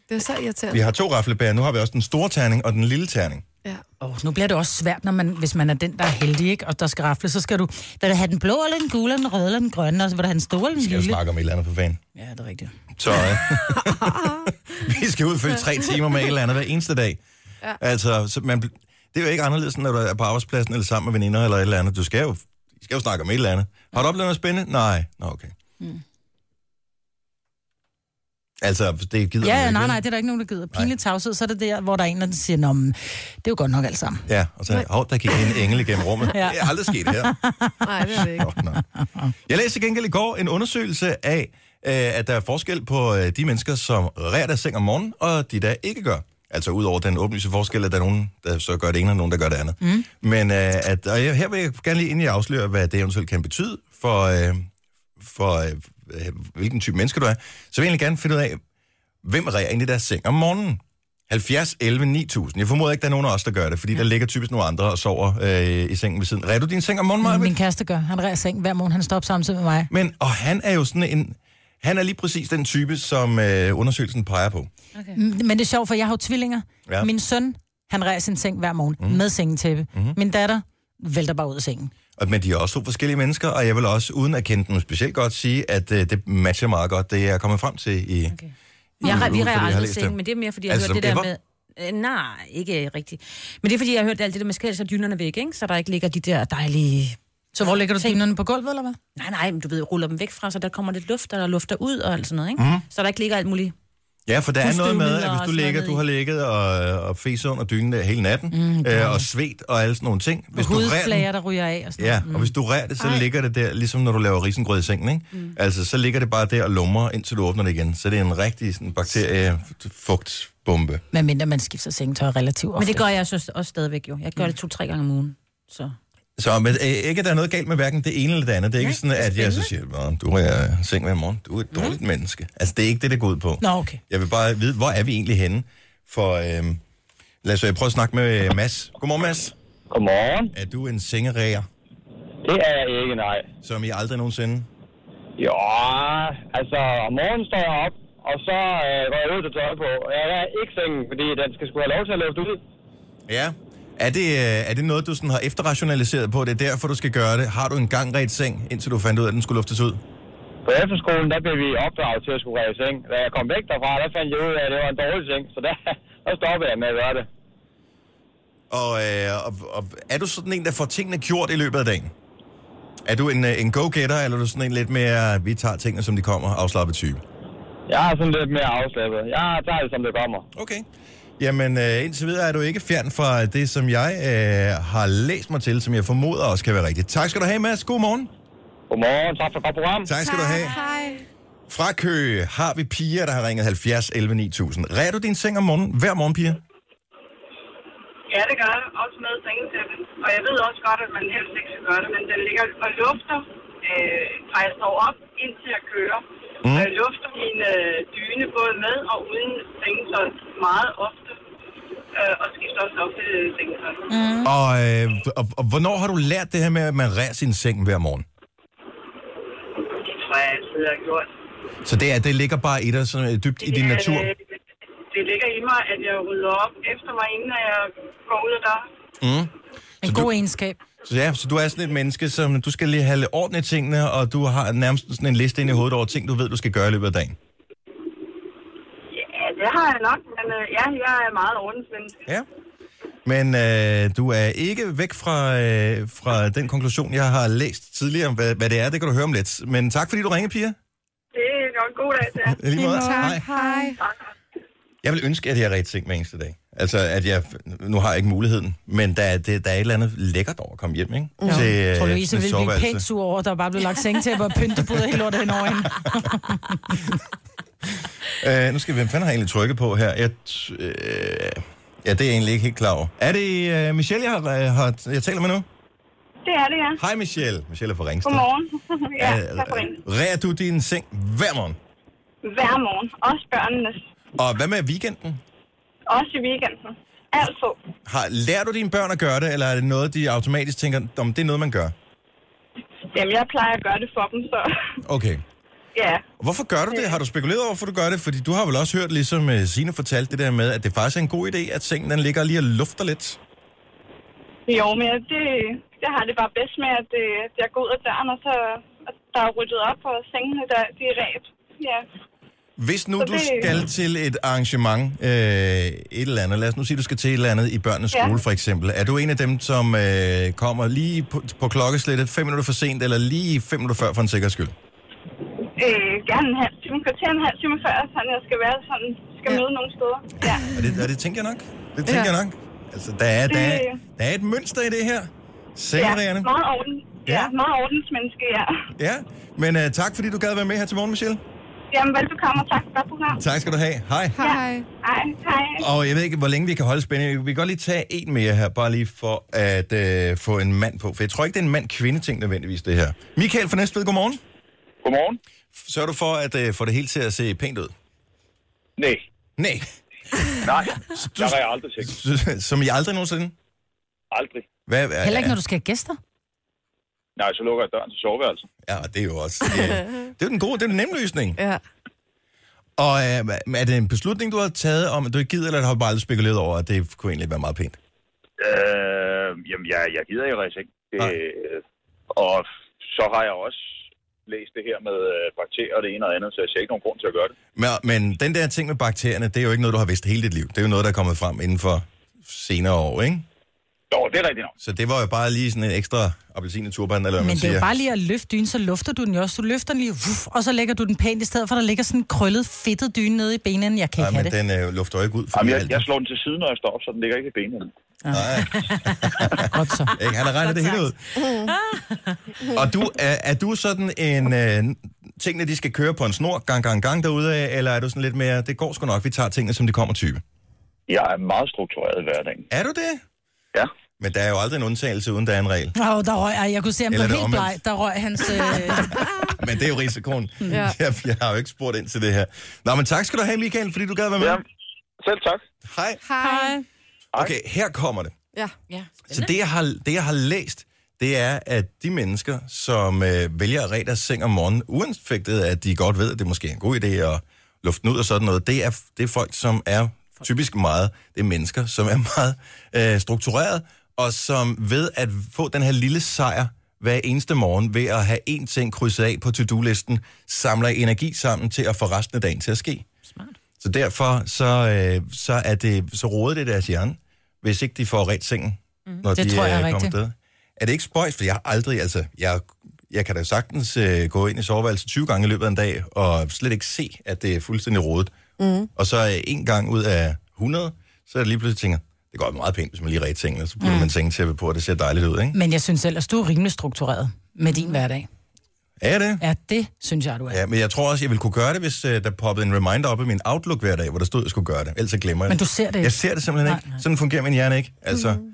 B: Det er så
A: Vi
B: irriterende.
A: har to raflebær. Nu har vi også den store terning og den lille terning.
B: Ja.
D: Oh, nu bliver det også svært, når man, hvis man er den, der er heldig, ikke? og der skal rafle, så skal du, vil du have den blå, eller den gule, eller den røde, eller den grønne, og så vil du have den store, eller den
A: Skal jeg
D: lille.
A: snakke om et eller andet for fanden?
D: Ja, det er rigtigt.
A: Så øh, vi skal udfylde tre timer med et eller andet hver eneste dag. Ja. Altså, så man, bl- det er jo ikke anderledes, end når du er på arbejdspladsen eller sammen med veninder eller et eller andet. Du skal jo, I skal jo snakke om et eller andet. Har du oplevet noget spændende? Nej. Nå, okay. Mm. Altså, det gider man jo
D: Ja,
A: ikke,
D: nej,
A: vel?
D: nej, det er der ikke nogen, der gider. Pinlig tavshed, så er det der, hvor der er en, der siger, Nå, men, det er jo godt nok alt sammen.
A: Ja, og så, hov, der gik en engel igennem rummet. ja. Det er aldrig sket her.
B: Nej, det er det ikke.
A: Nå, nå. Jeg læste til gengæld i går en undersøgelse af, øh, at der er forskel på øh, de mennesker, som rærer deres seng om morgenen, og de, der ikke gør. Altså ud over den åbenlyse forskel, at der er nogen, der så gør det ene, og nogen, der gør det andet. Mm. Men øh, at, og jeg, her vil jeg gerne lige, inden jeg afslører, hvad det eventuelt kan betyde for, øh, for øh, øh, hvilken type mennesker du er, så vil jeg egentlig gerne finde ud af, hvem rærer egentlig deres seng om morgenen? 70, 11, 9000. Jeg formoder ikke, der er nogen af os, der gør det, fordi der ligger typisk nogle andre og sover øh, i sengen ved siden. Ræder du din seng om morgenen, Maja?
D: Min kæreste gør. Han ræser seng hver morgen. Han står op samtidig med mig.
A: Men, og han er jo sådan en... Han er lige præcis den type, som øh, undersøgelsen peger på.
D: Men det er sjovt, for jeg har jo tvillinger.
A: Ja.
D: Ja. Min søn, han ræser sin seng hver morgen mm. med sengetæppe. Mm. Min datter vælter bare ud af sengen.
A: Og, men de er også to forskellige mennesker, og jeg vil også, uden at kende dem specielt godt, sige, at øh, det matcher meget godt, det jeg er kommet frem til i... Okay.
C: Jeg,
A: Ud-
C: har-
A: ud
C: vi
A: fra det,
C: rærer
A: jeg har
C: aldrig
A: læst det.
C: sengen, men det er mere, fordi jeg
A: Altså
C: altså, hørte det
A: som
C: der med... Øh, nej, ikke rigtigt. Men det er, fordi jeg har hørt alt det der med skal så dynerne væk, ikke? Så der ikke ligger de der dejlige...
D: Så hvor lægger du dynerne på gulvet, eller hvad?
C: Nej, nej, men du ved, ruller dem væk fra, så der kommer lidt luft, og der lufter ud og alt sådan noget,
A: Mhm.
C: ikke? Mm. Så der ikke ligger alt muligt.
A: Ja, for der er noget med, at
C: Husstøvmider
A: hvis
C: og
A: du
C: sådan
A: ligger,
C: noget
A: du har ligget og, og fæset under dynen der hele natten, mm, øh, og svedt og alle sådan nogle ting. Hvis du rører den,
D: Hudflager, der ryger af og sådan
A: ja,
D: noget.
A: og hvis du rører det, så Ej. ligger det der, ligesom når du laver risengrød i sengen, ikke? Mm. Altså, så ligger det bare der og lumrer, indtil du åbner det igen. Så det er en rigtig sådan, bakteriefugtbombe.
D: Men mindre man skifter sengetøj relativt ofte.
C: Men det gør jeg så også stadigvæk jo. Jeg gør det to-tre gange om ugen. Så.
A: Så men, øh, ikke, at der er noget galt med hverken det ene eller det andet. Det er ikke sådan, at jeg så siger, "Nå, du er i øh, seng hver morgen, du er et dårligt mm. menneske. Altså, det er ikke det, det går ud på.
D: Nå, okay.
A: Jeg vil bare vide, hvor er vi egentlig henne? For øhm, lad os øh, prøve at snakke med øh, Mads. Godmorgen, Mads.
H: Godmorgen.
A: Er du en sengeræger,
H: Det er jeg ikke, nej.
A: som I aldrig nogensinde...
H: Jo, altså om morgenen står jeg op, og så øh, går jeg ud til tøj på. Og Jeg er ikke sengen, fordi den skal skulle have lov til at lufte ud.
A: Ja. Er det, øh, er det noget, du sådan har efterrationaliseret på? Det er derfor, du skal gøre det. Har du en gang ret seng, indtil du fandt ud af, at den skulle luftes ud?
H: På efterskolen, der blev vi opdraget til at skulle ræve seng. Da jeg kom væk derfra, der fandt jeg ud af, at det var en dårlig seng, så der, *laughs* der stoppede jeg med at gøre det.
A: Og, øh, og, og er du sådan en, der får tingene gjort i løbet af dagen? Er du en, øh, en go-getter, eller er du sådan en lidt mere, vi tager tingene, som de kommer, afslappet type?
H: Jeg er sådan lidt mere afslappet. Jeg tager det, som det kommer.
A: Okay. Jamen, øh, indtil videre er du ikke fjern fra det, som jeg øh, har læst mig til, som jeg formoder også kan være rigtigt. Tak skal du have, Mads. God morgen.
H: Godmorgen, tak for et godt program.
A: Tak skal du have.
B: Hej.
A: Fra Køge har vi piger, der har ringet 70 11 9000. Rærer du din seng om morgenen? Hver morgen, piger?
I: Ja, det gør jeg. Også med sengetæppe. Og jeg ved også godt, at man helst ikke skal gøre det, men den ligger og lufter, øh, fra jeg står op, indtil jeg kører. Mm. Og jeg lufter min øh, dyne både med og uden sengetøj meget ofte. Øh, og skifter også ofte øh, sengetøj. Mm.
A: Og, øh, og, og hvornår har du lært det her med, at man rærer sin seng hver morgen?
I: Det tror jeg altid, jeg har gjort.
A: Så det, er, det ligger bare i dig, sådan, øh, dybt i din
I: Det,
A: natur?
I: øh, Det ligger i mig, at jeg rydder op efter mig, inden jeg går ud af døren.
D: En god egenskab.
A: Så ja, så du er sådan et menneske, som du skal lige have lidt orden i tingene, og du har nærmest sådan en liste inde i hovedet over ting, du ved, du skal gøre i løbet af dagen.
I: Ja, det har jeg nok, men øh, ja, jeg er meget ordensmenneske.
A: Ja. Men øh, du er ikke væk fra, øh, fra den konklusion, jeg har læst tidligere, om, hvad, hvad det er. Det kan du høre om lidt. Men tak, fordi du ringede, Pia.
I: Det er jo en god dag til jer.
A: Lige måde. *laughs* Hej.
B: Hej.
A: Jeg vil ønske, at jeg rigtig ting hver eneste dag. Altså, at jeg... Nu har jeg ikke muligheden, men der, er- det, der er et eller andet lækkert over at komme hjem, ikke? øh, Jo.
D: Jeg tror, Louise ville blive pænt sur over, at der bare blev lagt sengetæppe og pyntepuder helt lortet henover hende.
A: Øh, nu skal vi, hvem fanden har jeg egentlig trykket på her? Jeg, t- øh, ja, det er jeg egentlig ikke helt klar over. Er det øh, Michelle, jeg, har, øh, har, jeg taler med nu?
I: Det er det, ja.
A: Hej Michelle. Michelle er fra Ringsted.
I: Godmorgen. *laughs* ja,
A: Øh,
I: tak for det.
A: Rærer du din seng hver morgen?
I: Hver morgen. Også børnenes.
A: Og hvad med weekenden?
I: Også i weekenden. Altså,
A: Har, lærer du dine børn at gøre det, eller er det noget, de automatisk tænker, om det er noget, man gør?
I: jamen, jeg plejer at gøre det for dem, så *laughs*
A: Okay.
I: ja.
A: Hvorfor gør du det? Har du spekuleret over, hvorfor du gør det? Fordi du har vel også hørt, ligesom øh, Signe fortalte det der med, at det faktisk er en god idé, at sengen den ligger lige og lufter lidt.
I: Jo, men jeg- det, jeg har det bare bedst med, at, øh, at jeg går ud af døren, og så at der er ryddet op, og sengene der, de er ret. Ja.
A: Hvis nu
I: Så
A: du
I: det-
A: skal til et arrangement, øh, et eller andet, lad os nu sige, du skal til et eller andet i børnenes
I: Ja.
A: skole for eksempel, er du en af dem, som øh, kommer lige på, på klokkeslættet fem minutter for sent, eller lige fem minutter før for en sikkerheds skyld?
I: Øh, gerne en halv time, kvarter en halv time før, så jeg skal være sådan, skal
B: Ja.
I: møde nogle steder. Ja.
A: Er det, er det tænker jeg nok? Det tænker
B: Ja.
A: jeg nok. Altså, der er, der, er, der er et mønster i det her.
I: ja.
A: Sengererne.
I: Meget orden. Ja.
A: Ja.
I: ja, meget ordensmenneske, ja. *laughs*
A: Ja, men øh, tak fordi du gad være med her til morgen, Michelle.
I: Jamen, velbekomme, og tak for godt program.
A: Tak skal du have. Hej.
B: Hej.
I: Hej, hej.
A: Og jeg ved ikke, hvor længe vi kan holde spændingen. Vi kan godt lige tage en mere her, bare lige for at øh, få en mand på. For jeg tror ikke, det er en mand-kvinde-ting nødvendigvis, det her. Michael fra Næstved, godmorgen.
H: Godmorgen.
A: Sørger du for at øh, få det hele til at se pænt ud?
H: Nej.
A: Nej. *laughs*
H: Nej,
A: Du-
H: der har jeg aldrig tænkt.
A: Som I aldrig nogensinde?
H: Aldrig.
A: Hvad, er-
D: Heller ikke, når *laughs* du skal have gæster.
H: Nej, så lukker jeg døren til soveværelset.
A: Ja, og det er jo også... Det, er- det er jo den gode, det er den nemme løsning.
B: Ja.
A: Og øh, er det en beslutning, du har taget om, at du ikke gider, eller har du bare aldrig spekuleret over, at det kunne egentlig være meget pænt?
H: Øh, jamen, jeg, jeg gider jo rejse ikke. Det, øh, og så har jeg også læst det her med øh, bakterier og det ene og det andet, så jeg ser ikke nogen grund til at gøre det.
A: Men, men den der ting med bakterierne, det er jo ikke noget, du har vidst hele dit liv. Det er jo noget, der er kommet frem inden for senere år, ikke?
H: Jo, det er rigtigt nok.
A: Så det var jo bare lige sådan en ekstra appelsin i turban, eller hvad
D: Men
A: man
D: det er
A: siger.
D: jo bare lige at løfte dynen, så lufter du den jo også. Du løfter den lige, uff, og så lægger du den pænt i stedet for, der ligger sådan en krøllet, fedtet dyne nede i benene. Jeg kan ikke
A: Nej,
D: have
A: men
D: det.
A: den øh, lufter jo ikke ud.
H: Jamen, jeg,
A: alt.
H: jeg slår den til siden, når jeg står op, så den ligger ikke i benene.
D: Godt så.
A: Ikke? Han har regnet det hele ud.
D: Mm.
A: Og du, er, er du sådan en... Øh, tingene, de skal køre på en snor gang, gang, gang derude af, eller er du sådan lidt mere, det går sgu nok, vi tager tingene, som de kommer type?
H: Jeg er meget struktureret i hverdagen.
A: Er du det?
H: Ja.
A: Men der er jo aldrig en undtagelse, uden der er en regel.
D: Åh, oh, der røg, ej, jeg kunne se, at han
A: Eller
D: blev
A: er det
D: helt bleg.
A: omvendt?
D: Der røg hans... Øh,
A: Men det er jo risikoen.
B: Ja.
A: *laughs* Jeg, jeg har jo ikke spurgt ind til det her. Nå, men tak skal du have, Michael, fordi du gad være med.
H: ja. Selv tak.
A: Hej.
B: Hej.
A: Okay, her kommer det.
B: Ja.
A: Så det jeg, har, det, jeg har læst, det er, at de mennesker, som øh, vælger at ræde deres seng om morgenen, uanfægtet at de godt ved, at det måske er en god idé at lufte den ud og sådan noget, det er, det er folk, som er typisk meget, det er mennesker, som er meget øh, struktureret, og som ved at få den her lille sejr hver eneste morgen ved at have én ting krydset af på to-do-listen, samler energi sammen til at få resten af dagen til at ske. Så derfor så, øh, så, er det, så råder det deres hjerne, hvis ikke de får ret sengen, mm. når
D: Mhm. Det
A: de
D: tror jeg er
A: øh, kommer
D: rigtigt.
A: afsted. Er det ikke spøjs, for jeg har aldrig, altså, jeg, jeg kan da sagtens øh, gå ind i soveværelset 20 gange i løbet af en dag, og slet ikke se, at det er fuldstændig rodet.
D: Mhm.
A: Mm. Og så øh, en gang ud af 100, så er det lige pludselig tænker, det går meget pænt, hvis man lige ret tingene, så putter mm. man sengetæppe på, og det ser dejligt ud, ikke?
D: men jeg synes ellers, du er rimelig struktureret med din hverdag.
A: Er det?
D: Ja, det synes jeg, du er.
A: Ja, men jeg tror også, jeg ville kunne gøre det, hvis øh, der poppede en reminder op i min Outlook hver dag, hvor der stod, at jeg skulle gøre det. Ellers så glemmer jeg
D: Men
A: det.
D: du ser det ikke.
A: Jeg ser det simpelthen
D: Nej,
A: ikke. Sådan fungerer min hjerne ikke. Altså, mm.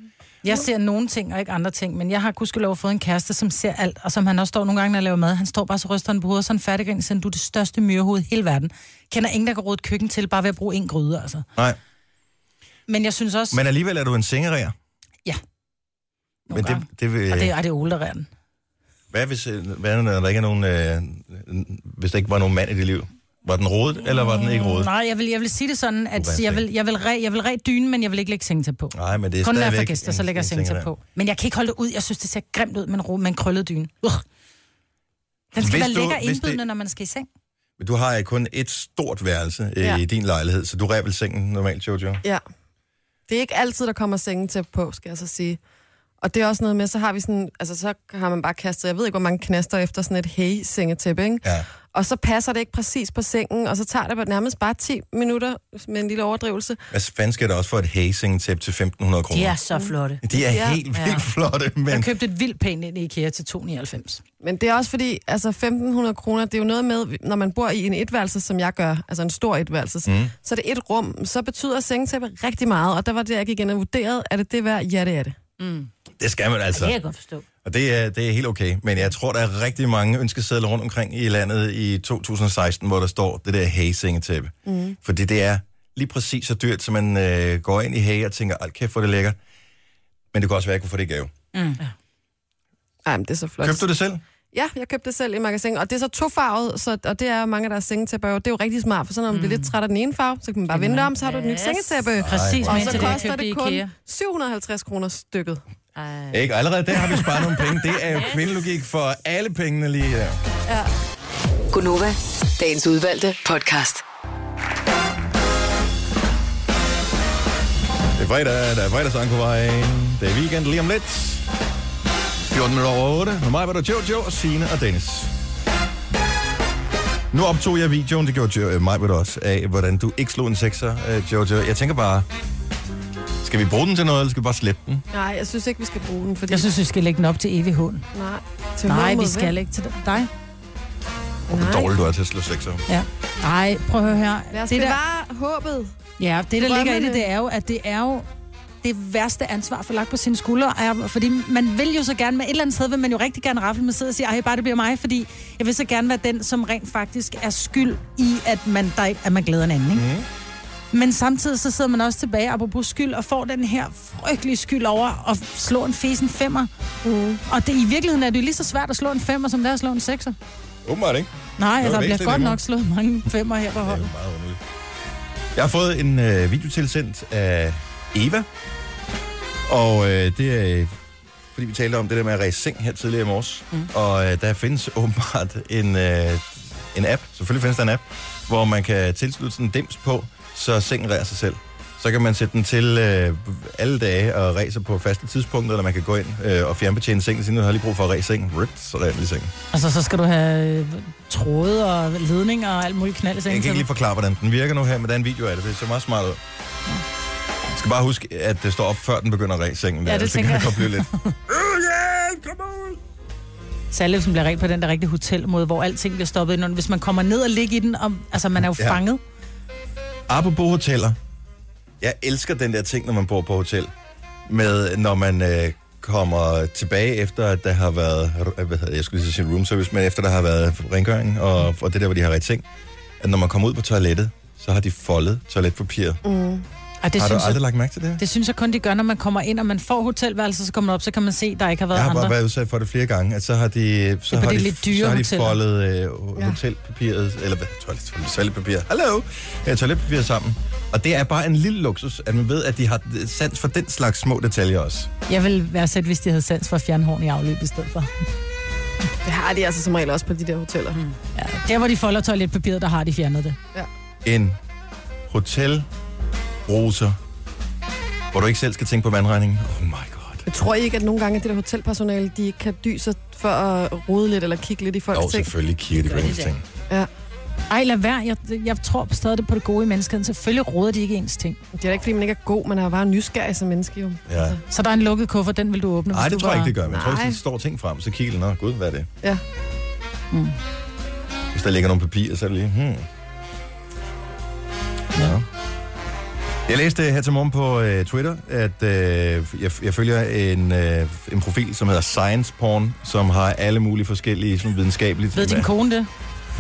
D: Jeg ser nogle ting og ikke andre ting, men jeg har gudskelov fået en kæreste, som ser alt, og som han også står nogle gange, når jeg laver mad. Han står bare så ryster han på hovedet, og sådan færdiggrin, sender du er det største myrehoved i hele verden. Kender ingen, der kan råde et køkken til, bare ved at bruge en gryde, altså.
A: Nej,
D: Men jeg synes også...
A: men alligevel er du en sengeræger.
D: Ja.
A: Men det,
D: gange.
A: det, vil,
D: Og det, ej, det er Ole, der redder den.
A: Hvad hvis øh, hvad, når der ikke er nogen, øh, hvis der ikke var nogen mand i dit liv? Var den rodet, eller var den ikke rodet?
D: Nej, jeg vil, jeg vil sige det sådan, at
A: Uvanskeligt.
D: jeg vil, jeg vil, re, jeg vil re dyne, men jeg vil ikke lægge sengetæp på.
A: Nej, men det er
D: Kun når jeg får
A: stadigvæk
D: gæster,
A: en-
D: så lægger jeg
A: en
D: sengetæp
A: sengetæp.
D: på. Men jeg kan ikke holde det ud. Jeg synes, det ser grimt ud med en, ro, med en krøllet dyne. Ugh. Den skal
A: Hvis
D: være
A: du-
D: lækker
A: hvis det-
D: indbydende, når man skal i seng.
A: Men du har øh, kun et stort værelse øh,
B: Ja.
A: i din lejlighed, så du ræver vel sengen normalt, Jojo?
B: Ja. Det er ikke altid, der kommer sengen til på, skal jeg så sige. Og det er også noget med, så har vi sådan, altså så har man bare kastet, jeg ved ikke, hvor mange knaster efter sådan et hey-sengetæppe, ikke?
A: Ja.
B: Og så passer det ikke præcis på sengen, og så tager det bare nærmest bare 10 minutter med en lille overdrivelse.
A: Hvad fanden skal der også for et hazingetæp til 1.500
C: De
A: kroner?
C: er så flotte.
A: De er
B: Ja.
A: helt vildt flotte, men
D: Jeg købte et vildt pænt ind i IKEA til 2,99.
B: Men det er også fordi, altså 1.500 kroner, det er jo noget med, når man bor i en etværelse, som jeg gør, altså en stor etværelse, mm. så er det et rum, så betyder sengetæppe rigtig meget, og der var det, jeg gik ind og vurderede, er det det værd? Ja, det er det.
A: det skal man
C: Det kan
A: altså.
C: jeg godt forstå.
A: Og det er, det er helt okay. Men jeg tror, der er rigtig mange ønskesedler rundt omkring i landet i 2016, hvor der står det der hazingetæppe. Mm. Fordi det er lige præcis så dyrt, som man øh, går ind i hage og tænker, alt kæft, hvor er det lækkert. Men det kan også være, at jeg kunne få det i gave.
B: Ej, men det er så flot.
A: Købte du det selv?
B: Ja, jeg købte det selv i magasin, og det er så tofarvet, så, og det er jo mange af deres sengetæpper jo. Det er jo rigtig smart, for så når man
D: Mm.
B: bliver lidt træt af den ene farve, så kan man bare vende det om, så har du et nyt
C: Yes.
B: sengetæppe.
D: Præcis,
A: hvor
B: Og
D: men
B: så
D: til det, jeg
B: koster
D: købte i
B: det kun
D: IKEA.
B: 750 kroner stykket.
A: Ikke? Og Allerede der har vi sparet nogle penge. Det er jo kvindelogik for alle pengene lige her.
E: Gunova, dagens udvalgte podcast.
A: Det er fredag, der er fredagssang på vej. Det er weekend lige om lidt. 14 minutter over 8. Med mig var der Jojo, Sine og Dennis. Nu optog jeg videoen, det gjorde jo, øh, mig var også, af hvordan du ikke slog en sekser, øh, Jojo. Jeg tænker bare, skal vi bruge den til noget, eller skal vi bare slette den?
B: Nej, jeg synes ikke, vi skal bruge den, fordi...
D: Jeg synes, vi skal lægge den op til evigheden.
B: nej, til
D: Nej,
B: hånden
D: vi
B: mod
D: skal
B: væk.
D: ikke til dig.
A: Hvor
B: Nej.
A: dårlig du er til at slå sekser.
D: Ja. Nej, prøv at høre her.
B: Lad os
D: det, der,
B: bevare håbet.
D: ja, det, der ligger i det,
B: drømmene.
D: det er jo, at det er jo det værste ansvar for lagt på sine skuldre. Er, fordi man vil jo så gerne, med et eller andet sted vil man jo rigtig gerne rafle med sidder og sige, ej, bare det bliver mig, fordi jeg vil så gerne være den, som rent faktisk er skyld i, at man, der, at man glæder en anden. Ikke? Mm.
A: Mhm.
D: Men samtidig så sidder man også tilbage, apropos skyld, og får den her frygtelige skyld over at slå en fesen femmer.
A: Mhm.
D: Mm. Og det, i virkeligheden er det jo lige så svært at slå en femmer, som det er at slå en sekser.
A: Åbenbart ikke.
D: Nej,
A: Nå,
D: der bliver
A: væsentligt
D: godt
A: nemmere.
D: nok slået mange femmer her på
A: Det er
D: holdet.
A: jo meget underligt. Jeg har fået en øh, video tilsendt af Eva. Og øh, det er, fordi vi talte om det der med at ræse seng her tidligere i morges. Mm. Og øh, der findes *laughs* åbenbart en, øh, en app, selvfølgelig findes der en app, hvor man kan tilslutte sådan en dims på, så sengen ræser sig selv. Så kan man sætte den til øh, alle dage og ræse på faste tidspunkter, eller man kan gå ind øh, og fjernbetjene sengen, siden du har lige brug for at ræse sengen. Rip, så ræser den i sengen.
D: Altså, så skal du have øh, tråde og ledninger og alt muligt knald i
A: Jeg
D: sengen.
A: kan ikke lige forklare, hvordan den virker nu her, men der er en video af det. Det ser meget smart ud. Jeg skal bare huske, at det står op, før den begynder at ræse sengen.
D: Ja,
A: der,
D: det
A: ellers
D: tænker
A: kan det
D: jeg.
A: godt blive lidt.
D: *laughs* Særligt, hvis man bliver rent på den der rigtige hotelmåde, hvor alting bliver stoppet indenunder. Hvis man kommer ned og ligger i den, og, altså man er jo
A: Ja.
D: ja. fanget.
A: Apropos hoteller. Jeg elsker den der ting, når man bor på hotel. Med, når man øh, kommer tilbage efter, at der har været, øh, hvad hedder, jeg skulle lige så sige room service, men efter der har været rengøring og, og det der, hvor de har ret ting, at når man kommer ud på toilettet, så har de foldet toiletpapiret. Mm,
D: Og det,
A: har du
D: synes
A: aldrig
D: jeg,
A: lagt mærke til det?
D: det synes jeg kun, de gør, når man kommer ind, og man får hotelværelset, så kommer man op, så kan man se, at der ikke har været
A: Jeg har
D: andre.
A: bare været udsat for det flere gange, at så har de, så
D: Det er på
A: har
D: de
A: de,
D: lidt dyre
A: så har de
D: hoteller.
A: foldet øh, hotelpapiret, eller hvad, toilet, toiletpapir, hallo, øh, toiletpapir sammen. Og det er bare en lille luksus, at man ved, at de har sans for den slags små detaljer også.
D: Jeg ville være sæt, hvis de havde sans for at fjerne horn i afløb i stedet for.
B: Det har de altså som regel også på de der hoteller. Mm.
D: Der, hvor de folder toiletpapiret, der har de fjernet det.
A: En hotel roser, hvor du ikke selv skal tænke på vandregningen. Oh my god.
B: Jeg tror I ikke, at nogle gange at det der hotelpersonale, de kan dyse sig for at rode lidt eller kigge lidt i folks
A: Og
B: ting.
A: selvfølgelig kigger de på ens ting.
B: Ja.
D: Ej, lad være. Jeg, jeg tror stadig det på det gode i menneskeheden. Selvfølgelig råder de ikke ens ting.
B: Det er da ikke, fordi man ikke er god, man er bare nysgerrig som menneske jo. Altså,
A: Ja.
D: Så der er en lukket kuffert, den vil du åbne.
A: Nej,
D: hvis
A: det
D: du
A: tror jeg
D: var-
A: ikke, det gør. Men jeg tror, hvis
B: Nej.
A: der står ting frem, så kigger den. Nå, gud, hvad er det? Mm.
B: Ja.
A: Hvis der ligger nogle papirer, så er det lige, hmm. Ja. Jeg læste her til morgen på øh, Twitter, at øh, jeg, jeg følger en, øh, en profil, som hedder Science Porn, som har alle mulige forskellige sådan, videnskabelige...
D: Ved din kone det?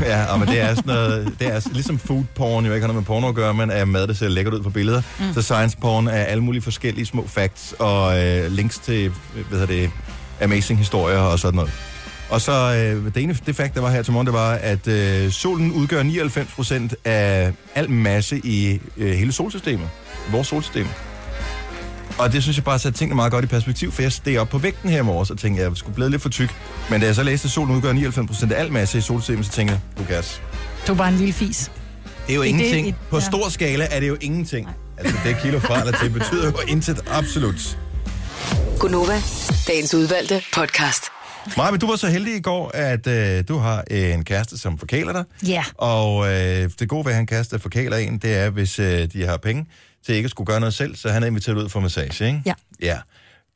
A: Ja, og men det er sådan noget, det er ligesom food porn, jo ikke har noget med porno at gøre, men er mad, der ser lækkert ud på billeder. Mm. Så science porn er alle mulige forskellige små facts og øh, links til, øh, hvad hedder det, amazing historier og sådan noget. Og så øh, det ene det fact, der var her til morgen, det var, at øh, solen udgør 99% af al masse i øh, hele solsystemet. Vores solsystem. Og det synes jeg bare satte tingene meget godt i perspektiv, for jeg steg op på vægten her i morges og tænkte, at jeg skulle blive lidt for tyk. Men da jeg så læste, at solen udgør 99% af al masse i solsystemet, så tænkte jeg, Lukas,
D: Du er bare en lille fis.
A: det er jo
D: Det er
A: ingenting.
D: det, et-
A: På
D: ja.
A: stor skala er det jo ingenting. Altså det kilo fra eller til betyder jo intet absolut.
E: Gunova, dagens udvalgte podcast.
A: Maja, men du var så heldig i går, at øh, du har en kæreste, som forkæler dig.
D: Ja.
A: Og øh, det gode ved, at han kæreste der forkæler en, det er, hvis øh, de har penge til ikke at skulle gøre noget selv, så han er inviteret ud for massage, ikke?
D: Ja.
A: Ja.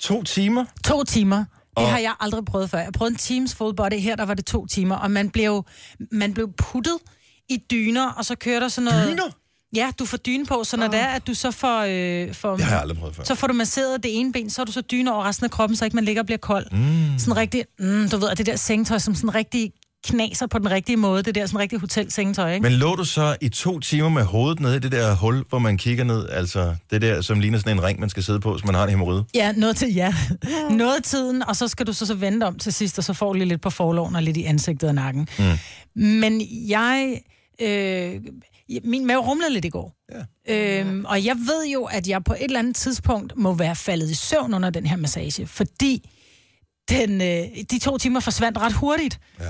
A: To timer.
D: To timer. Det
A: Og-
D: har jeg aldrig prøvet før. Jeg prøvede en Teams full body. Her der var det to timer, og man blev, jo- man blev puttet i dyner, og så kører der sådan noget...
A: Dyner?
D: Ja, du får dyne på, så når det er, at du så får... Øh, får
A: Det har jeg aldrig prøvet før.
D: så får du masseret det ene ben, så har du så dyne over resten af kroppen, så ikke man ligger og bliver kold. Mm. Sådan rigtig, mm, du ved, og det der sengetøj, som sådan rigtig knaser på den rigtige måde, det der sådan rigtig hotelsengetøj, ikke?
A: Men lå du så i to timer med hovedet nede i det der hul, hvor man kigger ned, altså det der, som ligner sådan en ring, man skal sidde på, hvis man har en hemorrhoide?
D: Ja, noget til ja. Noget af tiden, og så skal du så, så vente om til sidst, og så får du lige lidt på forloven og lidt i ansigtet og nakken. Mm. Men jeg... Øh, min mave rumlede lidt i går. Ja. Øhm, og jeg ved jo, at jeg på et eller andet tidspunkt må være faldet i søvn under den her massage, fordi den, øh, de to timer forsvandt ret hurtigt.
A: Ja.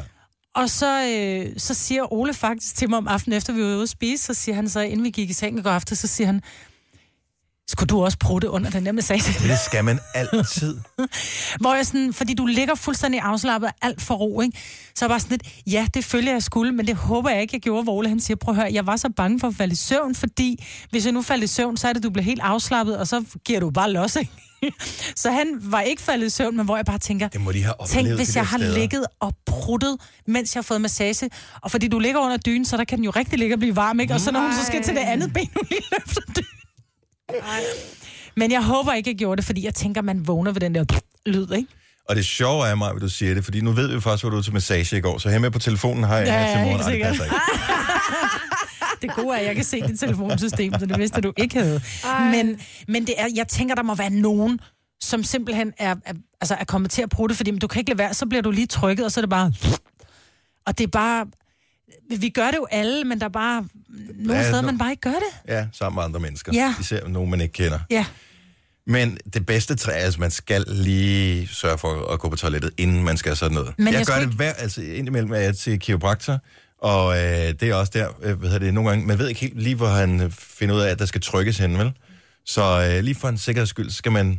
D: Og så, øh, så siger Ole faktisk til mig om aftenen, efter vi var ude at spise, så siger han så, inden vi gik i seng i går aftes, så siger han, skulle du også prutte under den der massage?
A: Det skal man altid.
D: Hvor jeg sådan, fordi du ligger fuldstændig afslappet og alt for ro, ikke? Så er jeg bare sådan lidt, ja, det følger jeg skulle, men det håber jeg ikke, jeg gjorde, hvor Ole han siger, prøv at høre, jeg var så bange for at falde i søvn, fordi hvis jeg nu faldt i søvn, så er det, du bliver helt afslappet, og så giver du bare los, ikke? *laughs* så han var ikke faldet i søvn, men hvor jeg bare tænker,
A: Det må de have oplevet.
D: tænk,
A: de
D: hvis
A: der
D: jeg har
A: steder.
D: ligget og pruttet, mens jeg har fået massage, og fordi du ligger under dynen, så der kan den jo rigtig ligge og blive varm, ikke? Og så når hun så skal til det andet ben, hun lige løfter dynen. Men jeg håber ikke, jeg gjorde det, fordi jeg tænker, man vågner ved den der lyd, ikke?
A: Og det sjove er mig, at du siger det, fordi nu ved vi faktisk, hvor du var til massage i går, så her med på telefonen har jeg
D: Ja,
A: her til
D: ja,
A: morgen.
D: helt
A: Ej, det passer ikke.
D: Det gode er, at jeg kan se dit telefonsystem, så det vidste jeg, du ikke havde. Men, men det er, jeg tænker, der må være nogen, som simpelthen er, er, altså er kommet til at bruge det, fordi men du kan ikke lade være, så bliver du lige trykket, og så er det bare... Og det er bare... Vi gør det jo alle, men der er bare nogle
A: Ja,
D: steder,
A: nu-
D: man bare ikke gør det.
A: Ja, sammen med andre mennesker.
D: Ah! Ja.
A: Især nogen, man ikke kender.
D: Ja.
A: Men det bedste træ, altså man skal lige sørge for at gå på toilettet, inden man skal sådan noget.
D: Men
A: jeg,
D: jeg
A: gør
D: skulle
A: det hver, altså indimellem er jeg til kiropraktor, og øh, det er også der, øh, hvad hedder det, nogle gange, man ved ikke helt lige, hvor han øh, finder ud af, at der skal trykkes hen, vel? Så øh, lige for en sikkerheds skyld, så skal man,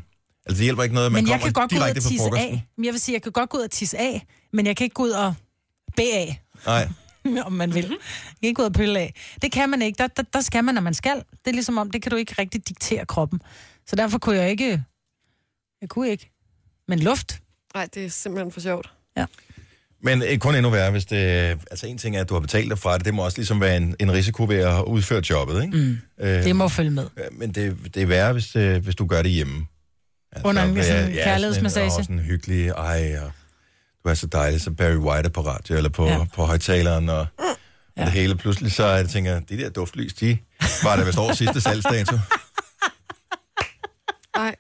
A: altså det hjælper ikke noget, at man
D: Men jeg
A: kommer
D: kan godt gå ud og
A: direkte på
D: tisse
A: frokosten.
D: af. Men Jeg vil sige, jeg kan godt gå ud og tisse af, men jeg kan ikke gå ud og bage af,
A: Nej,
D: *laughs* om man vil. Jeg kan ikke gå ud og pille af. Det kan man ikke. Der, der, der skal man, når man skal. Det er ligesom om, det kan du ikke rigtig diktere kroppen. Så derfor kunne jeg ikke... Jeg kunne ikke. Men luft.
B: Nej, det er simpelthen for sjovt.
A: men øh, kun endnu værre, hvis det, altså en ting er, at du har betalt dig fra det, det må også ligesom være en, en risiko ved at udføre jobbet, ikke? Mm. Øh,
D: Det må følge med.
A: Ja, Men det, det er værre, hvis, øh, hvis du gør det hjemme. Altså,
D: Under en
A: hvad-
D: sådan
A: sådan en-
D: kærlighedsmassage.
A: Og sådan en hyggelig, ej, og du er så dejlig, så Barry White er på radio, eller på, ja.
D: Ja.
A: på højtaleren, og, ja. og det hele. Pludselig så jeg tænker jeg, de der duftlys, de var der vist over
D: *laughs*
A: sidste salgsdato.
B: Nej,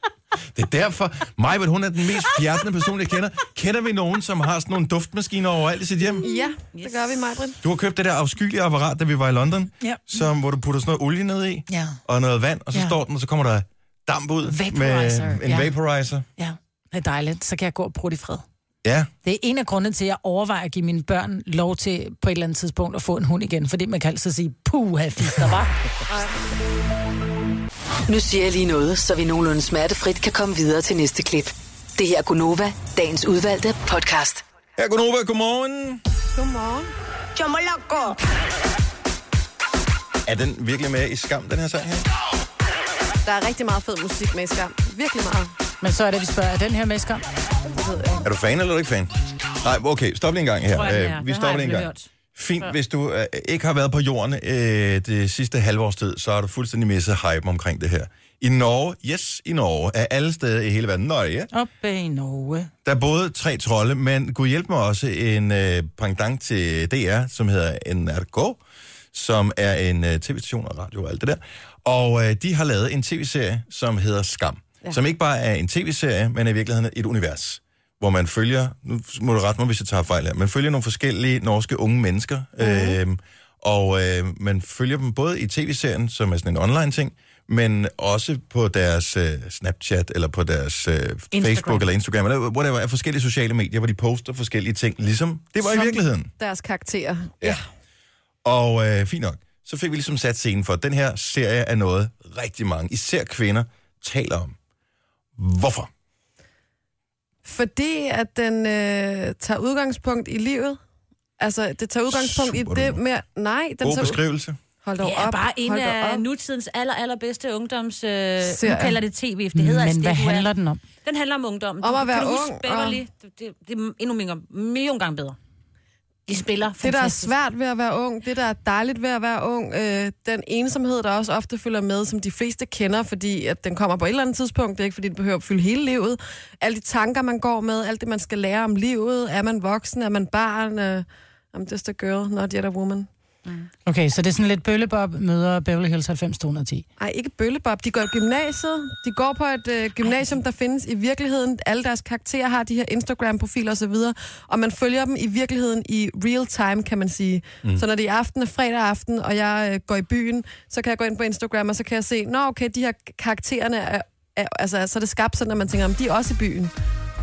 A: Det er derfor, Majbert, hun er den mest fjertende person, jeg kender. Kender vi nogen, som har sådan nogle duftmaskiner overalt i sit hjem?
B: ja, yes. det gør vi, Majbrit.
A: Du har købt det der afskyelige apparat, da vi var i London,
D: Ja.
A: som, hvor du putter sådan noget olie ned i,
D: Ja.
A: og noget vand, og så
D: Ja.
A: står den, og så kommer der damp ud
D: Vaporizer,
A: med en
D: ja.
A: vaporizer.
D: Ja, det er dejligt. Så kan jeg gå og bruge det i fred.
A: Ja.
D: Det er en af grundene til, at jeg overvejer at give mine børn lov til på et eller andet tidspunkt at få en hund igen. Fordi man kan altid sige, puh, der var.
E: Nu siger jeg lige noget, så vi nogenlunde smertefrit kan komme videre til næste klip. Det her er Gunova, dagens udvalgte podcast.
A: Ja, godnova, godmorgen.
B: Godmorgen.
A: Er den virkelig med i skam, den her sang her?
B: Der er rigtig meget fed musik med i skam. Virkelig meget.
D: Men så er det, vi spørger, er den her med skam?
A: Er du fan eller er du ikke fan? Nej, okay, stop lige en gang her. Øh,
C: Tror jeg, den er.
A: vi
C: Den har
A: stopper
C: jeg
A: lige en gang.
C: hørt.
A: Fint, hvis du øh, ikke har været på jorden øh, det sidste halve års tid, så har du fuldstændig misset hypen omkring det her. I Norge, yes, i Norge, af alle steder i hele verden, Norge, ja,
D: Oppe i Norge.
A: der boede tre trolde, men kunne hjælpe mig også en øh, pendant til DR, som hedder NRK, som er en øh, tv-station og radio og alt det der. Og øh, de har lavet en tv-serie, som hedder Skam. Ja. Som ikke bare er en tv-serie, men er i virkeligheden et univers, hvor man følger, nu må du rette mig, hvis jeg tager fejl her, man følger nogle forskellige norske unge mennesker, mm. øh, og øh, man følger dem både i tv-serien, som er sådan en online-ting, men også på deres øh, Snapchat, eller på deres øh, Facebook, eller Instagram, eller whatever, af forskellige sociale medier, hvor de poster forskellige ting, ligesom det var som... i
B: Som-
A: virkeligheden.
B: Deres karakterer.
A: Ja. Og øh, fint nok, så fik vi ligesom sat scenen for, at den her serie er noget rigtig mange, især kvinder, taler om. Hvorfor?
B: Fordi at den øh, tager udgangspunkt i livet. Altså, det tager udgangspunkt
A: Super
B: i det
A: du.
B: med... Nej,
A: God
B: den tager... ud-
A: beskrivelse.
B: Hold dog
C: Det er
B: op.
C: bare en
B: hold dog
C: af
B: op.
C: nutidens aller, allerbedste ungdoms... Øh, nu
B: Serier.
C: kalder det tv, for det hedder altså
D: Men
C: det,
D: hvad
C: du er.
D: handler den om?
C: Den handler om ungdommen.
B: Om
C: Du-
B: at være
C: kan du huske
B: ung,
C: Beverly?
B: og-
C: Det, det, det er endnu mere, million gange bedre. De spiller fantastisk.
B: Det, der er svært ved at være ung, det, der er dejligt ved at være ung, øh, den ensomhed, der også ofte følger med, som de fleste kender, fordi at den kommer på et eller andet tidspunkt, det er ikke fordi, det behøver at fylde hele livet. Alle de tanker, man går med, alt det, man skal lære om livet, er man voksen, er man barn, øh, I'm just a girl, not yet a woman.
D: Okay, så det er sådan lidt bøllebop møder Beverly Hills 90 210.
B: Ej, ikke bøllebop. De går i gymnasiet. De går på et øh, gymnasium, der findes i virkeligheden. Alle deres karakterer har de her Instagram-profiler osv., og man følger dem i virkeligheden i real time, kan man sige. Mm. Så når det er aften og fredag aften, og jeg øh, går i byen, så kan jeg gå ind på Instagram, og så kan jeg se, nå okay, de her karaktererne er, er altså, så er det skabt sådan, at man tænker, om de er også i byen.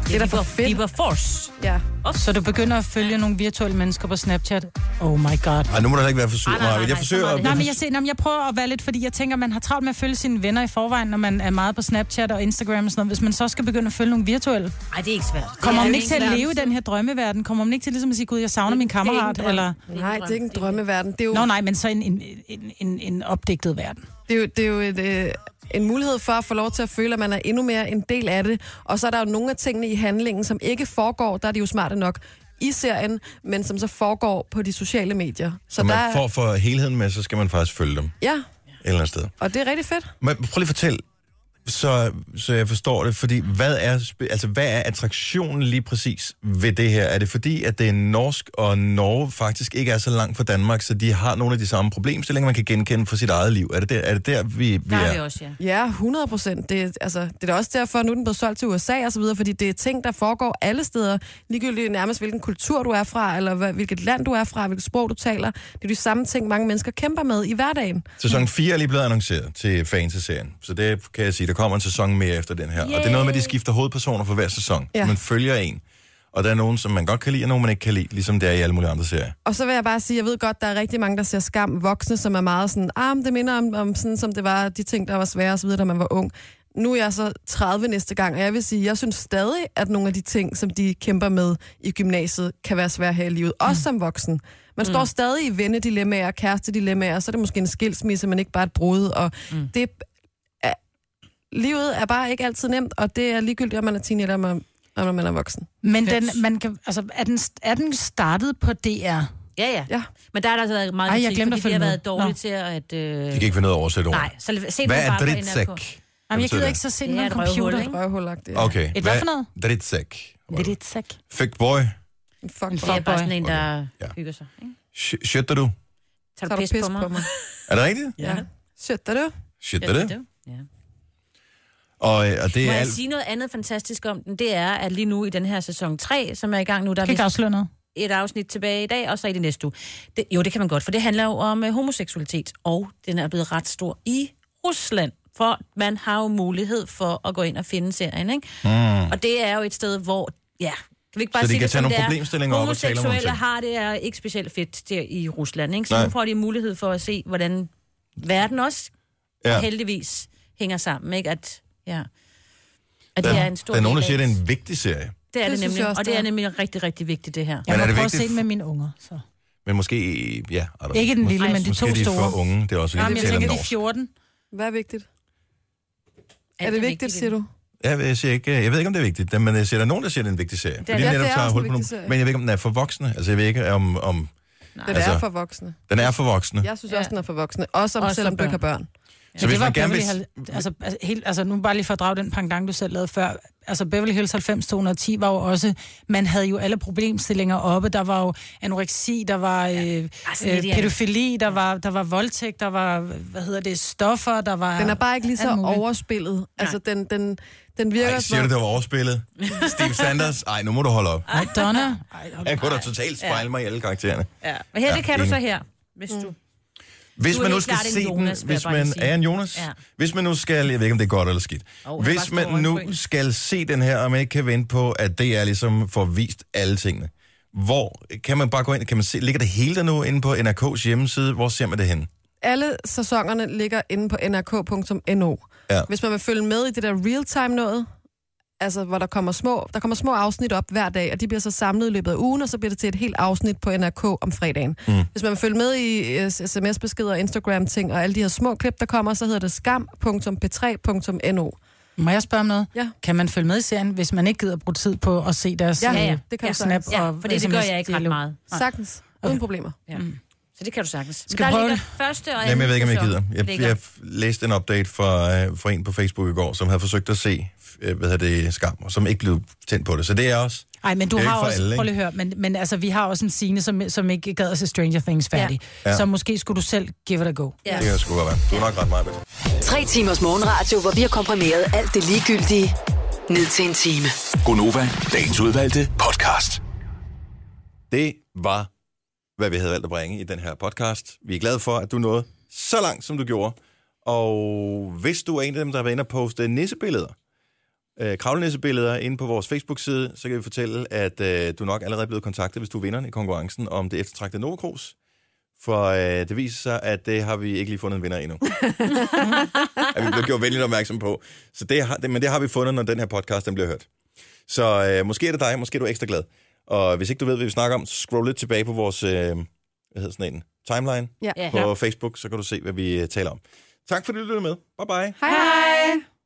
B: Det er da for fedt.
C: Bieber Force.
B: Ja.
D: Så du begynder at følge nogle virtuelle mennesker på Snapchat. Oh my god.
A: Ej, nu må du da ikke være for sur,
C: Ej, nej, nej,
A: Maja. Jeg
C: nej,
A: forsøger
C: så meget
A: at...
C: det
D: Nej, men jeg, ser, nej, men jeg prøver at være lidt, fordi jeg tænker, man har travlt med at følge sine venner i forvejen, når man er meget på Snapchat og Instagram og sådan noget. Hvis man så skal begynde at følge nogle virtuelle,
C: Nej, det er ikke svært.
D: kommer
C: Det er
D: man
C: jo
D: ikke til at leve i den her drømmeverden? Kommer man ikke til ligesom at sige, gud, jeg savner min
C: Det er ikke en
D: kammerat?
C: drøm.
D: Eller...
B: Nej, det er ikke en drømmeverden. Det er jo
D: Nå nej, men så en, en, en, en, en opdigtet verden.
B: Det er jo, det er jo et, øh, en mulighed for at få lov til at føle, at man er endnu mere en del af det. Og så er der jo nogle af tingene i handlingen, som ikke foregår, der er de jo smarte nok i serien, men som så foregår på de sociale medier. Så
A: Når
B: der,
A: man
B: er-
A: får for helheden med, så skal man faktisk følge dem et
B: Ja,
A: eller andet sted.
B: og det er rigtig fedt.
A: Men prøv lige at fortæl. så, så jeg forstår det, fordi hvad er, spe- altså, hvad er attraktionen lige præcis ved det her? Er det fordi, at det er norsk, og Norge faktisk ikke er så langt fra Danmark, så de har nogle af de samme problemstillinger, man kan genkende fra sit eget liv? Er det der, er det der vi, vi
C: Der
A: er?
C: er vi også, ja.
B: Ja, 100 procent. Det, er- altså, det er da også derfor, at nu er den blevet solgt til USA og så videre, fordi det er ting, der foregår alle steder. Ligegyldigt nærmest, hvilken kultur du er fra, eller hvad, hvilket land du er fra, hvilket sprog du taler. Det er de samme ting, mange mennesker kæmper med i hverdagen.
A: Sæson 4 er lige blevet annonceret til fans af serien. Så det kan jeg sige, der kommer en sæson mere efter den her. Yay. Og det er noget med, at de skifter hovedpersoner for hver sæson.
B: Ja.
A: Ja. Man følger en. Og der er nogen, som man godt kan lide, og nogen, man ikke kan lide, ligesom det er i alle mulige andre serier.
B: Og så vil jeg bare sige, jeg ved godt, der er rigtig mange, der ser skam voksne, som er meget sådan, ah, men det minder om, om sådan, som det var, de ting, der var svære og så videre, da man var ung. Nu er jeg så 30 næste gang, og jeg vil sige, jeg synes stadig, at nogle af de ting, som de kæmper med i gymnasiet, kan være svære her i livet,
C: Mm.
B: også som voksen. Man står stadig i vennedilemmaer, kærestedilemmaer, så er det måske en skilsmisse, men ikke bare et brud, og mm. det er, livet er bare ikke altid nemt, og det er ligegyldigt, om man er teenager, om man, om man er voksen.
D: Men den, man kan, altså, er, den, er den startet på DR?
C: Ja, ja.
B: Ja.
C: Men der er der altså været meget
D: Ej, jeg
C: kritik,
D: glemte at
C: fordi de
D: følge
C: har
D: med.
C: været dårlige
D: Nå.
C: til at... Øh...
A: De kan ikke finde ud af at oversætte ord.
C: Nej, så se
A: Hvad
C: den
A: er
C: bare på
A: dritsæk?
C: NRK.
A: Hvad
D: Jamen, jeg gider
A: betyder
D: ikke så sende
C: Det er
D: en
C: et
D: computer.
C: røvhul,
D: ikke?
B: Røvhulagtigt.
A: Okay.
D: Et hvad for noget?
A: Dritsæk.
D: Dritsæk.
A: Fik boy.
B: Fuck,
D: En
B: hvor
C: Det er
D: fuckboy.
C: bare sådan en, der
A: Okay, ja.
C: hygger sig. Ikke?
A: Sh- Shøtter du?
C: Tager
B: tager
C: du pis på mig?
A: Er det rigtigt?
B: Ja. Sødt er du.
A: Shit,
C: Ja,
A: er det?
C: er Ja.
A: Og, øh, og det
C: Må
A: er
C: jeg
A: alt...
C: sige noget andet fantastisk om den? Det er, at lige nu i den her sæson 3, som er i gang nu, der er
D: Kan ikke
C: vist
D: afsløre noget.
C: et afsnit tilbage i dag, og så i det næste uge. Det, jo, det kan man godt, for det handler jo om øh, homoseksualitet, og den er blevet ret stor i Rusland, for man har jo mulighed for at gå ind og finde serien, ikke? Mm. Og det er jo et sted, hvor, ja, kan vi ikke bare
A: Så de
C: sige
A: kan
C: det,
A: tage
C: som
A: nogle
C: det er?
A: problemstillinger op og tale om nogle
C: Homoseksuelle
A: ting.
C: har det er ikke specielt fedt der i Rusland, ikke? Så
A: Nej.
C: nu får de mulighed for at se, hvordan verden også ja.
A: Ja.
C: heldigvis hænger sammen, ikke? At, ja. At det
A: Der,
C: er en stor
A: der er nogen, der
C: del
A: siger,
C: af-
A: at det er en vigtig serie.
C: det er
B: Det
C: det,
B: synes
C: nemlig,
B: jeg også,
C: og det
B: det
C: er
B: er.
C: nemlig rigtig, rigtig vigtigt, det her.
D: Jeg
A: Men er
D: må
A: det
D: prøve at
A: vigtigt?
D: se den med mine unger. Så.
A: Men måske... Ja, er der-
D: Ikke den lille,
A: Mås-
D: men de
A: måske
D: to
A: de er for
D: store.
A: unge. Det er også
D: Jamen,
A: vigtigt,
D: jeg
A: at tale
D: tænker, de
A: om
D: er
A: norsk.
D: 14.
B: Hvad er vigtigt? Er det vigtigt, siger du?
A: Ja, jeg, siger ikke, jeg ved ikke, om det er vigtigt, men jeg siger, der er nogen, der siger, at det er en vigtig serie. Det
B: ja, det er også
A: hul
B: en
A: på
B: vigtig
A: nogle,
B: serie.
A: Men jeg ved ikke, om den er for voksne. Altså, jeg ved ikke, om, om
B: Den
A: Altså-
B: er for voksne.
A: den er for voksne.
B: Jeg synes også, den er for voksne. Også om,
D: Også
B: selvom
D: for
B: du ikke har børn.
A: Så hvis
D: det var
A: man gerne
D: Beverly
A: vil...
D: Hill- altså, altså, helt, altså, nu bare lige for at drage den pangdang, du selv lavede før. Altså, Beverly Hills 90210 var jo også... Man havde jo alle problemstillinger oppe. Der var jo anoreksi, der var øh,
C: Altså, det er
D: øh,
C: det,
D: pædofili, der var, der var voldtægt, der var, hvad hedder det, stoffer, der var...
B: Den er bare ikke lige så
D: alt muligt.
B: overspillet. Altså, den, den, den virker
A: Ej, siger du, det var overspillet? Steve Sanders? Ej, nu må du holde op.
B: *laughs*
D: Madonna. Ej, hold
A: Jeg kunne da totalt spejle mig i alle karaktererne.
C: Ja. Men her,
A: Ja,
C: det kan du
A: enig.
C: så her, hvis
D: Mm.
C: du...
A: Hvis
C: Du er
A: man nu
C: helt
A: skal
C: klart en
A: se
C: Jonas,
A: den,
C: vil jeg
A: hvis
C: bare
A: man
C: lige sige.
A: er en Jonas,
C: Ja.
A: ja. hvis man nu skal, jeg ved ikke om det er godt eller skidt,
C: Åh,
A: oh,
C: han
A: hvis
C: var
A: man
C: stor
A: nu
C: øjenbryn.
A: skal se den her, og man ikke kan vente på, at det er ligesom får vist alle tingene, hvor kan man bare gå ind, kan man se, ligger det hele der nu inde på NRK's hjemmeside, hvor ser man det henne?
B: Alle sæsonerne ligger inde på nrk.no.
A: Ja.
B: Hvis man vil følge med i det der real-time noget, altså hvor der kommer små, der kommer små afsnit op hver dag, og de bliver så samlet i løbet af ugen, og så bliver det til et helt afsnit på NRK om fredagen. Mm. Hvis man vil følge med i øh, sms-beskeder, Instagram-ting og alle de her små klip, der kommer, så hedder det skam.p3.no.
D: Må jeg spørge om noget?
B: Ja.
D: Kan man følge med i serien, hvis man ikke gider bruge tid på at se deres
B: Ja,
D: øh,
B: ja, det kan du
D: snap?
B: sagtens.
D: Og,
C: Ja, for det, det gør jeg ikke ret
D: dialog? Mm.
C: meget.
B: Sagtens. Uden problemer.
C: Ja. Så det kan du sagtens.
D: Skal
C: Men
D: vi
C: der
D: prøve
C: ligger første og anden
A: Jamen, jeg ved ikke, om jeg gider.
C: sæson
A: Jeg,
C: ligger.
A: jeg læste en update fra, øh, fra en på Facebook i går, som havde forsøgt at se, øh, hvad hedder det, skam, og som ikke blev tændt på det. Så det er også...
D: Ej, men du
A: Det er
D: har
A: ikke for
D: også,
A: alle, ikke?
D: prøv lige at høre, men, men altså, vi har også en scene, som, som ikke gad at se Stranger Things færdig.
A: Ja.
D: Ja.
A: Ja.
D: Så måske skulle du selv give it a go.
A: Det kan jeg sgu godt være. Du er nok ret meget med.
E: Tre timers morgenradio, hvor vi har komprimeret alt det ligegyldige ned til en time.
F: Gonova, dagens udvalgte podcast.
A: Det var, hvad vi havde valgt at bringe i den her podcast. Vi er glade for, at du nåede så langt, som du gjorde. Og hvis du er en af dem, der har været inde og poste nissebilleder, øh, kravlenissebilleder inde på vores Facebook-side, så kan vi fortælle, at øh, du nok allerede er blevet kontaktet, hvis du er vinderen i konkurrencen om det eftertragtede Nordkros. For øh, det viser sig, at det har vi ikke lige fundet en vinder endnu. at vi blev gjort venligt opmærksom på. Så det har, det, men det har vi fundet, når den her podcast den bliver hørt. Så øh, måske er det dig, måske er du ekstra glad. Og hvis ikke du ved, hvad vi snakker om, så scroll lidt tilbage på vores øh, hvad hedder sådan en, timeline
B: Ja.
C: Ja.
A: på Facebook, så kan du se, hvad vi øh, taler om. Tak fordi du lyttede med. Bye bye.
B: Hej hej!